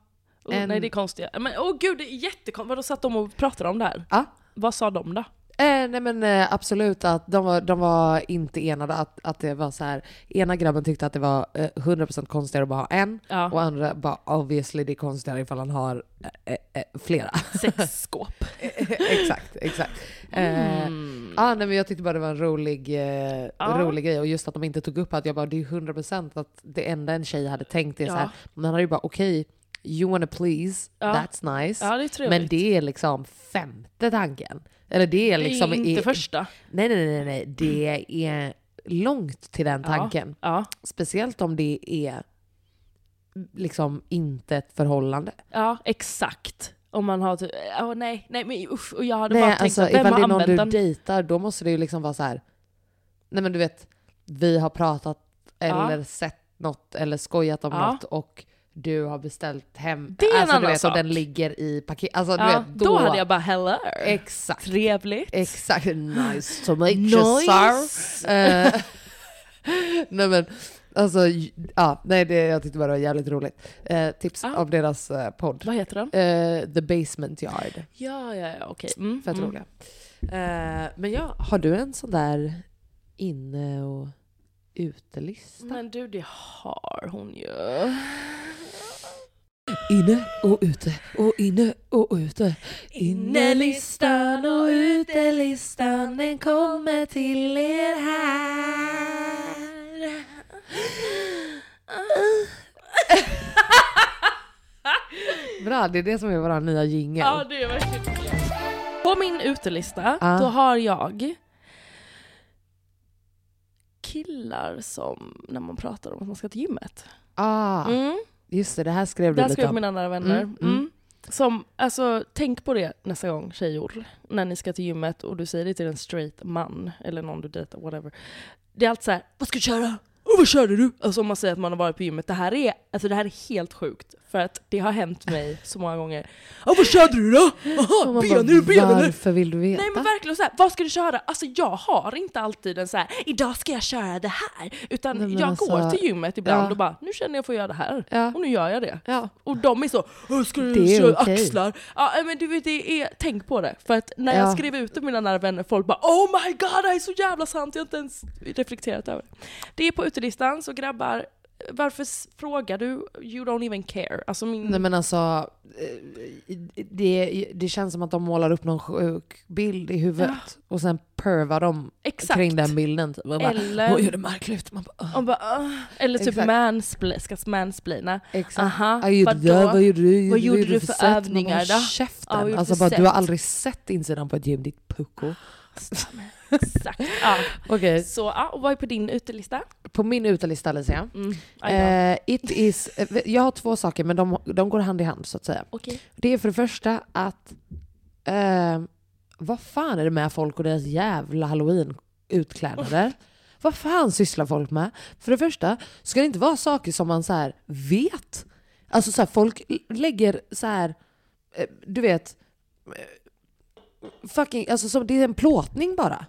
S1: Oh,
S2: En-
S1: Nej det är konstigt. Men åh oh, gud, det är jättekonstigt. Vadå satt de och pratade om det här?
S2: Ja.
S1: Vad sa de då?
S2: Eh, nej men eh, absolut att de var, de var inte enade. Att, att det var så här, ena grabben tyckte att det var eh, 100% konstigare att bara ha en.
S1: Ja.
S2: Och andra bara obviously det är konstigare ifall han har eh, eh, flera.
S1: Sexskåp.
S2: exakt, exakt. Eh, ah, nej, men jag tyckte bara det var en rolig, eh,
S1: Mm. Ja.
S2: rolig grej. Och just att de inte tog upp att jag bara, det är ju 100% att det enda en tjej hade tänkt är så här,
S1: Ja.
S2: men han hade ju bara okej, you wanna please,
S1: Ja.
S2: that's nice.
S1: Ja, det är trevligt.
S2: men det är liksom femte tanken. Eller det är liksom...
S1: det är inte
S2: i-
S1: första.
S2: Nej, nej, nej, nej. Det är långt till den tanken.
S1: Ja.
S2: Speciellt om det är liksom inte ett förhållande.
S1: Ja, exakt. Om man har typ, åh nej, nej men usch, och jag hade bara
S2: Nej,
S1: tänkt
S2: alltså
S1: att vem
S2: ifall det
S1: har
S2: är någon
S1: använt
S2: du
S1: den?
S2: dejtar, då måste det ju liksom vara så här. Nej men du vet, vi har pratat
S1: Ja.
S2: eller sett något eller skojat om
S1: Ja.
S2: något och du har beställt hem.
S1: Det är en
S2: alltså, du
S1: annan
S2: vet,
S1: sak.
S2: Och den ligger i paket. Alltså du
S1: ja,
S2: vet,
S1: då...
S2: då,
S1: hade jag bara hello.
S2: Exakt.
S1: Trevligt.
S2: Exakt, nice to meet
S1: Nice.
S2: you sir. Eh, nej men, alltså, j- ja, nej det, jag tyckte bara det var jävligt roligt. Eh, tips
S1: Ja.
S2: om deras eh, podd.
S1: Vad heter den?
S2: Eh, The Basement Yard.
S1: Ja, ja, ja, okej. Mm,
S2: Fett
S1: mm.
S2: roliga. Eh, men ja, har du en sån där inne och utelista?
S1: Men du, det har hon ju.
S2: Inne och ute och inne och ute. Innelistan och utelistan den kommer till er här. Bra, det är det som är vår nya jingel.
S1: Ja, det är verkligen På min utelista,
S2: Ja.
S1: då har jag killar som, när man pratar om att man ska till gymmet.
S2: Ah,
S1: Mm.
S2: just det, det här skrev du
S1: Där
S2: lite
S1: skrev
S2: om.
S1: mina nära vänner.
S2: Mm,
S1: Mm,
S2: mm.
S1: Som, alltså, tänk på det nästa gång tjejor, när ni ska till gymmet och du säger det till en straight man, eller någon du dejtar, whatever. Det är alltid så här, vad ska du köra? Och vad körde du? Alltså om man säger att man har varit på gymmet, det här är, alltså, det här är helt sjukt. För att det har hänt mig så många gånger. Ja vad körde du då?
S2: Och
S1: Aha,
S2: man
S1: ben
S2: bara,
S1: nu, ben nu!
S2: Varför vill du veta?
S1: Nej men verkligen, så här, vad ska du köra? Alltså jag har inte alltid en så här, idag ska jag köra det här. Utan
S2: Nej, men
S1: jag
S2: alltså,
S1: går till gymmet ibland
S2: ja.
S1: och bara, nu känner jag för att göra det här.
S2: Ja.
S1: Och nu gör jag det.
S2: Ja.
S1: Och de är så, "Åh, ska du
S2: Det är
S1: köra
S2: okej.
S1: axlar? Ja eh, men du vet, det är, tänk på det. För att när
S2: Ja.
S1: jag skrev ut det mina nära vänner, folk bara oh my god det här är så jävla sant, jag har inte ens reflekterat över det. Det är på utelistan, så grabbar, varför s- frågar du? You don't even care. Alltså min...
S2: Nej men alltså, eh, det, det känns som att de målar upp någon sjuk bild i huvudet och sen pervar de
S1: Exakt.
S2: kring den bilden. Typ. Och bara,
S1: Eller-
S2: Oj, hur det märkligt ut. Man bara, "Ah,
S1: Och bara, "Åh." eller typ
S2: Exakt.
S1: manspl- ska mansplaina.
S2: Exakt.
S1: Aha,
S2: jag gjorde det, vad gjorde du?
S1: Vad gjorde du för
S2: sätt?" Man bara,
S1: övningar
S2: "Håll
S1: då?" Ja, vad
S2: Käften.
S1: gjorde
S2: alltså
S1: du
S2: bara,
S1: för
S2: du har
S1: sätt?
S2: aldrig sett insidan på ett gym, ditt pucko.
S1: Exakt. Ja.
S2: Okej,
S1: Så ja, och vad är på din utelista?
S2: på min utelista Alicia.
S1: Mm. Ja, ja.
S2: Eh, it is, eh, jag har två saker men de, de går hand i hand så att säga.
S1: Okej.
S2: Det är för det första att... Eh, vad fan är det med folk och deras jävla halloween-utklädnader? Vad fan sysslar folk med? För det första ska det inte vara saker som man så här vet. Alltså så här, folk l- lägger så här, eh, du vet, eh, fucking, alltså som, det är en plåtning bara.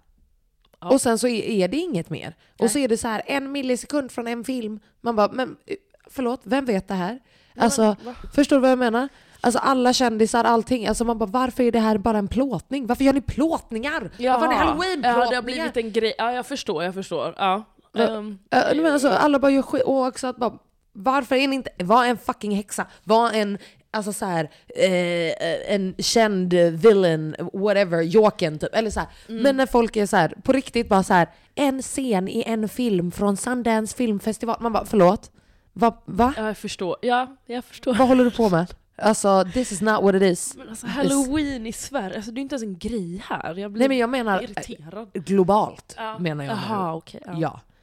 S2: Och sen så är, är det inget mer. Och så är det så här en millisekund från en film. Man bara, men eh, förlåt, vem vet det här? Alltså, förstår du vad jag menar? Alltså alla kändisar, allting. Alltså man bara, varför är det här bara en plåtning? Varför gör ni plåtningar? Varför är det halloween-plåtningar?
S1: Ah. Ja, det har blivit en grej. Ja, jag förstår, jag förstår. Ja. Ehm,
S2: Ja, nej, men alltså, alla bara gör skit. Och också att bara, varför är ni inte, var en fucking häxa, var en, alltså så här, eh, en känd villain, whatever, jokern typ. Eller så här.
S1: Mm.
S2: Men när folk är så här, på riktigt bara så här, en scen i en film från Sundance filmfestival. Man bara, förlåt? Va? va?
S1: ja, jag förstår. Ja, jag förstår.
S2: Vad håller du på med? Alltså this is not what it is.
S1: Men alltså halloween i Sverige, alltså, det är inte ens en grej här. Jag blir
S2: Nej men jag menar äh,
S1: irriterad.
S2: globalt menar jag nu.
S1: Jaha, okej. ja.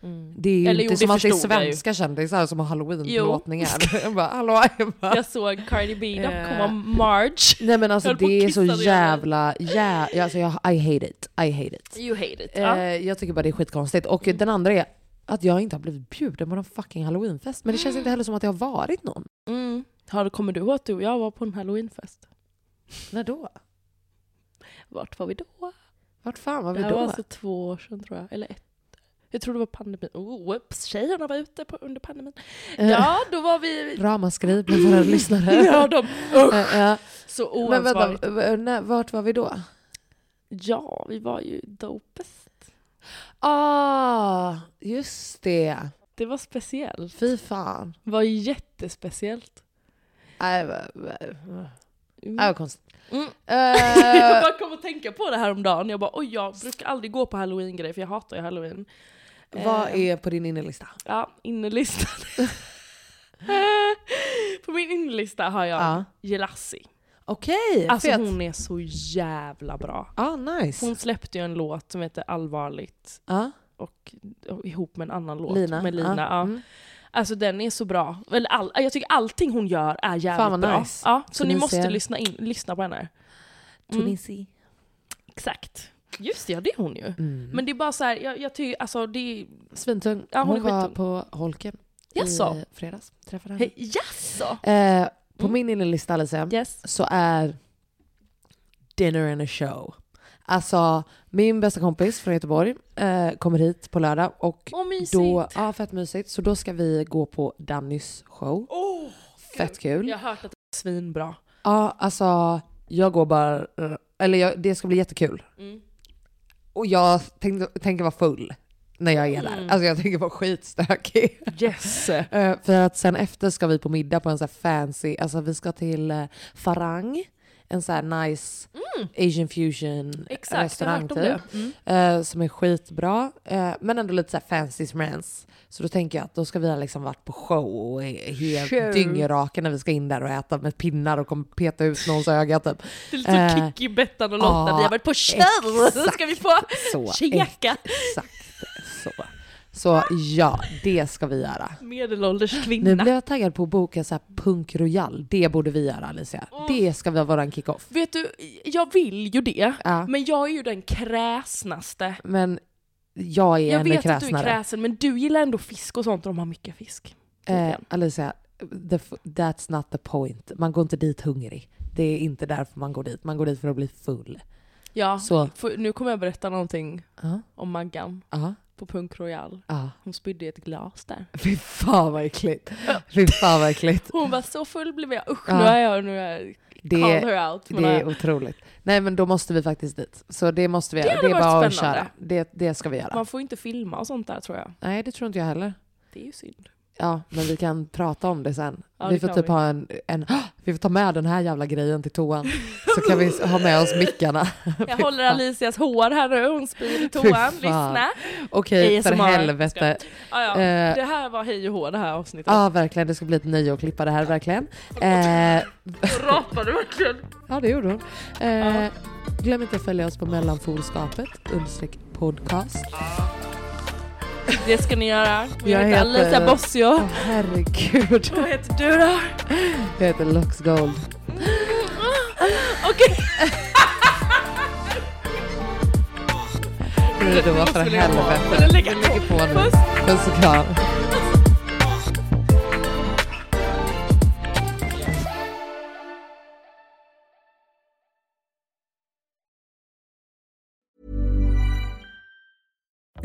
S1: Mm.
S2: Ja. Det är ju
S1: Eller jo,
S2: inte
S1: det
S2: som att det är
S1: förstod jag ju.
S2: svenska kändisar som har halloween-plåtningar. Jag bara, hallå, jag bara,
S1: Jag såg Cardi B
S2: Eh.
S1: då komma Marge.
S2: Nej men alltså
S1: Höll på att
S2: det är så
S1: kissa ner mig.
S2: jävla, jä, ja, alltså jag, I hate it, I hate it.
S1: You hate it.
S2: Eh,
S1: Ja. Mm.
S2: jag tycker bara det är skitkonstigt. Och den andra är att jag inte har blivit bjuden på någon fucking halloweenfest. Men det känns inte heller som att jag har varit någon.
S1: Mm. Har, kommer du ihåg att du och jag var på en halloweenfest?
S2: När då?
S1: Vart var vi då?
S2: Vart fan var
S1: Det
S2: vi
S1: här
S2: då?
S1: var alltså två år sedan tror jag, eller ett. Jag tror det var pandemin. Oh, whoops, tjejerna var ute på, under pandemin.
S2: Eh,
S1: Ja, då var vi...
S2: Ramaskri bland våra lyssnare.
S1: Ja, de... Usch,
S2: Eh, ja.
S1: så
S2: Men vänta,
S1: oansvarigt.
S2: v- när, vart var vi då?
S1: Ja, vi var ju dopest.
S2: Ah, just det.
S1: Det var speciellt.
S2: Fy fan.
S1: Det var jättespeciellt.
S2: Nej, va- va- va-
S1: Mm.
S2: nej, vad konstigt.
S1: Mm. jag
S2: Eh,
S1: bara kom att tänka på det här om dagen. Jag bara, oj jag brukar aldrig gå på halloween-grejer för jag hatar ju halloween.
S2: vad
S1: Eh,
S2: är på din innerlista?
S1: Ja, innerlistan. på min innerlista har jag
S2: Ja.
S1: Jelassi.
S2: Okej,
S1: Alltså
S2: fet.
S1: hon är så jävla bra.
S2: Ah, nice.
S1: Hon släppte ju en låt som heter Allvarligt
S2: Ja,
S1: och, och ihop med en annan låt
S2: Lina.
S1: med Lina.
S2: Ja,
S1: Ja.
S2: mm.
S1: Alltså den är så bra. Eller all, jag tycker allting hon gör är jävligt
S2: Fan vad
S1: bra.
S2: nice.
S1: Ja, så,
S2: Så
S1: ni
S2: ni
S1: måste
S2: ser-
S1: lyssna, in, lyssna på henne.
S2: Tunisi.
S1: Exakt. Just det, ja det är hon ju.
S2: Mm.
S1: Men det är bara så här, jag, jag tycker alltså det är...
S2: Svintung.
S1: Ja, hon
S2: hon
S1: är
S2: var
S1: skittung.
S2: på Holken
S1: Jaså?
S2: i fredags. Träffade henne.
S1: Hey, jaså?
S2: Eh, på
S1: Mm.
S2: min innerlista Alicia,
S1: Yes.
S2: så är dinner and a show. Alltså min bästa kompis från Göteborg eh, kommer hit på lördag och
S1: Åh mysigt.
S2: då, ja fett mysigt, så då ska vi gå på Dannys show.
S1: Åh,
S2: Fett kul.
S1: Jag
S2: Ja.
S1: har hört att det är svinbra.
S2: alltså jag går bara, eh, eller jag, det ska bli jättekul.
S1: Mm.
S2: Och jag tänkte, tänker vara full när jag är
S1: Mm.
S2: där. Alltså jag tänker vara skitstökig.
S1: Yes!
S2: Eh, För att sen efter ska vi på middag på en så här fancy, alltså vi ska till eh, Farang, en så här nice asian fusion
S1: Mm. Exakt, jag har
S2: restaurang
S1: hört om
S2: typ.
S1: det. Mm.
S2: eh, Som är skitbra, eh, men ändå lite så här fancy smäns. Så då tänker jag att då ska vi ha liksom varit på show och är helt
S1: Show.
S2: dyngraka när vi ska in där och äta med pinnar och kommer peta ut någons öga typ.
S1: Det är lite som
S2: Eh,
S1: Kikki, Bettan och Lotta,
S2: ja,
S1: vi har varit på show! Så
S2: exakt
S1: ska vi få
S2: så,
S1: käka!
S2: Exakt så. Så ja, det ska vi göra.
S1: Medelålders
S2: Nu
S1: kvinna.
S2: blev jag taggad på att boka så här punk royal. Det borde vi göra Alicia. Det ska vara våran kick-off.
S1: Vet du, jag vill ju det,
S2: Ja.
S1: men jag är ju den kräsnaste.
S2: Men jag är
S1: Jag
S2: ännu
S1: vet
S2: kräsnare.
S1: att du är kräsen, men du gillar ändå fisk och sånt och de har mycket fisk.
S2: Eh, Alicia, the, f- that's not the point. Man går inte dit hungrig. Det är inte därför man går dit. Man går dit för att bli full.
S1: Ja,
S2: Så.
S1: för, nu kommer jag berätta någonting
S2: Ja,
S1: om Maggan
S2: ja,
S1: på Punk Royal.
S2: ja.
S1: Hon spydde i ett glas där.
S2: Fy fan vad äckligt. Fy fan vad äckligt.
S1: Hon var så full blev jag. Usch,
S2: Ja.
S1: nu är jag, nu är jag
S2: Det,
S1: call her out. Men
S2: det är
S1: eh,
S2: otroligt. Nej men då måste vi faktiskt dit. Så det måste vi
S1: Det
S2: göra.
S1: hade
S2: Det är
S1: varit
S2: bara att
S1: spännande.
S2: köra. Det, det ska vi göra.
S1: man får ju inte filma och sånt där tror jag.
S2: Nej det tror inte jag heller.
S1: Det är ju synd.
S2: Ja, men vi kan prata om det sen.
S1: Ja,
S2: vi
S1: det
S2: får
S1: kan
S2: typ
S1: vi.
S2: ha en, en "Åh, vi får ta med den här jävla grejen till toan. Så kan vi s- ha med oss mickarna.
S1: Jag håller Alicias hår här nu, hon spyr i
S2: Fy
S1: toan.
S2: fan.
S1: Lyssna!
S2: Okej, för
S1: ASMR.
S2: helvete.
S1: Ah, ja.
S2: Eh.
S1: Det här var hej och hå det här avsnittet.
S2: Ja, verkligen. Det ska bli ett nöje att klippa det här, verkligen. Eh,
S1: Rapar du verkligen?
S2: ja, det gjorde hon. Eh, glöm inte att följa oss på mellanfolskapet, understreck podcast.
S1: Det ska ni göra. Jag,
S2: Jag
S1: heter Alicia
S2: heter-
S1: Bossio.
S2: Åh, herregud.
S1: Vad heter du då?
S2: Jag heter Lux Gold.
S1: Okej!
S2: Hej då, för
S1: vi lägga på.
S2: helvete.
S1: Eller
S2: Vi
S1: lägga
S2: lägger
S1: på.
S2: på nu.
S1: Puss.
S2: Puss och kram.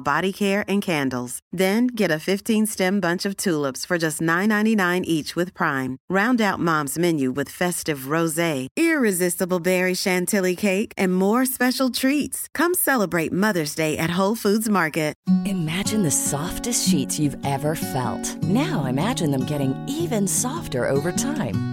S5: body care and candles. Then get a 15-stem bunch of tulips for just $9.99 each with Prime. Round out Mom's menu with festive rosé, irresistible berry chantilly cake, and more special treats. Come celebrate Mother's Day at Whole Foods Market.
S6: Imagine the softest sheets you've ever felt. Now imagine them getting even softer over time.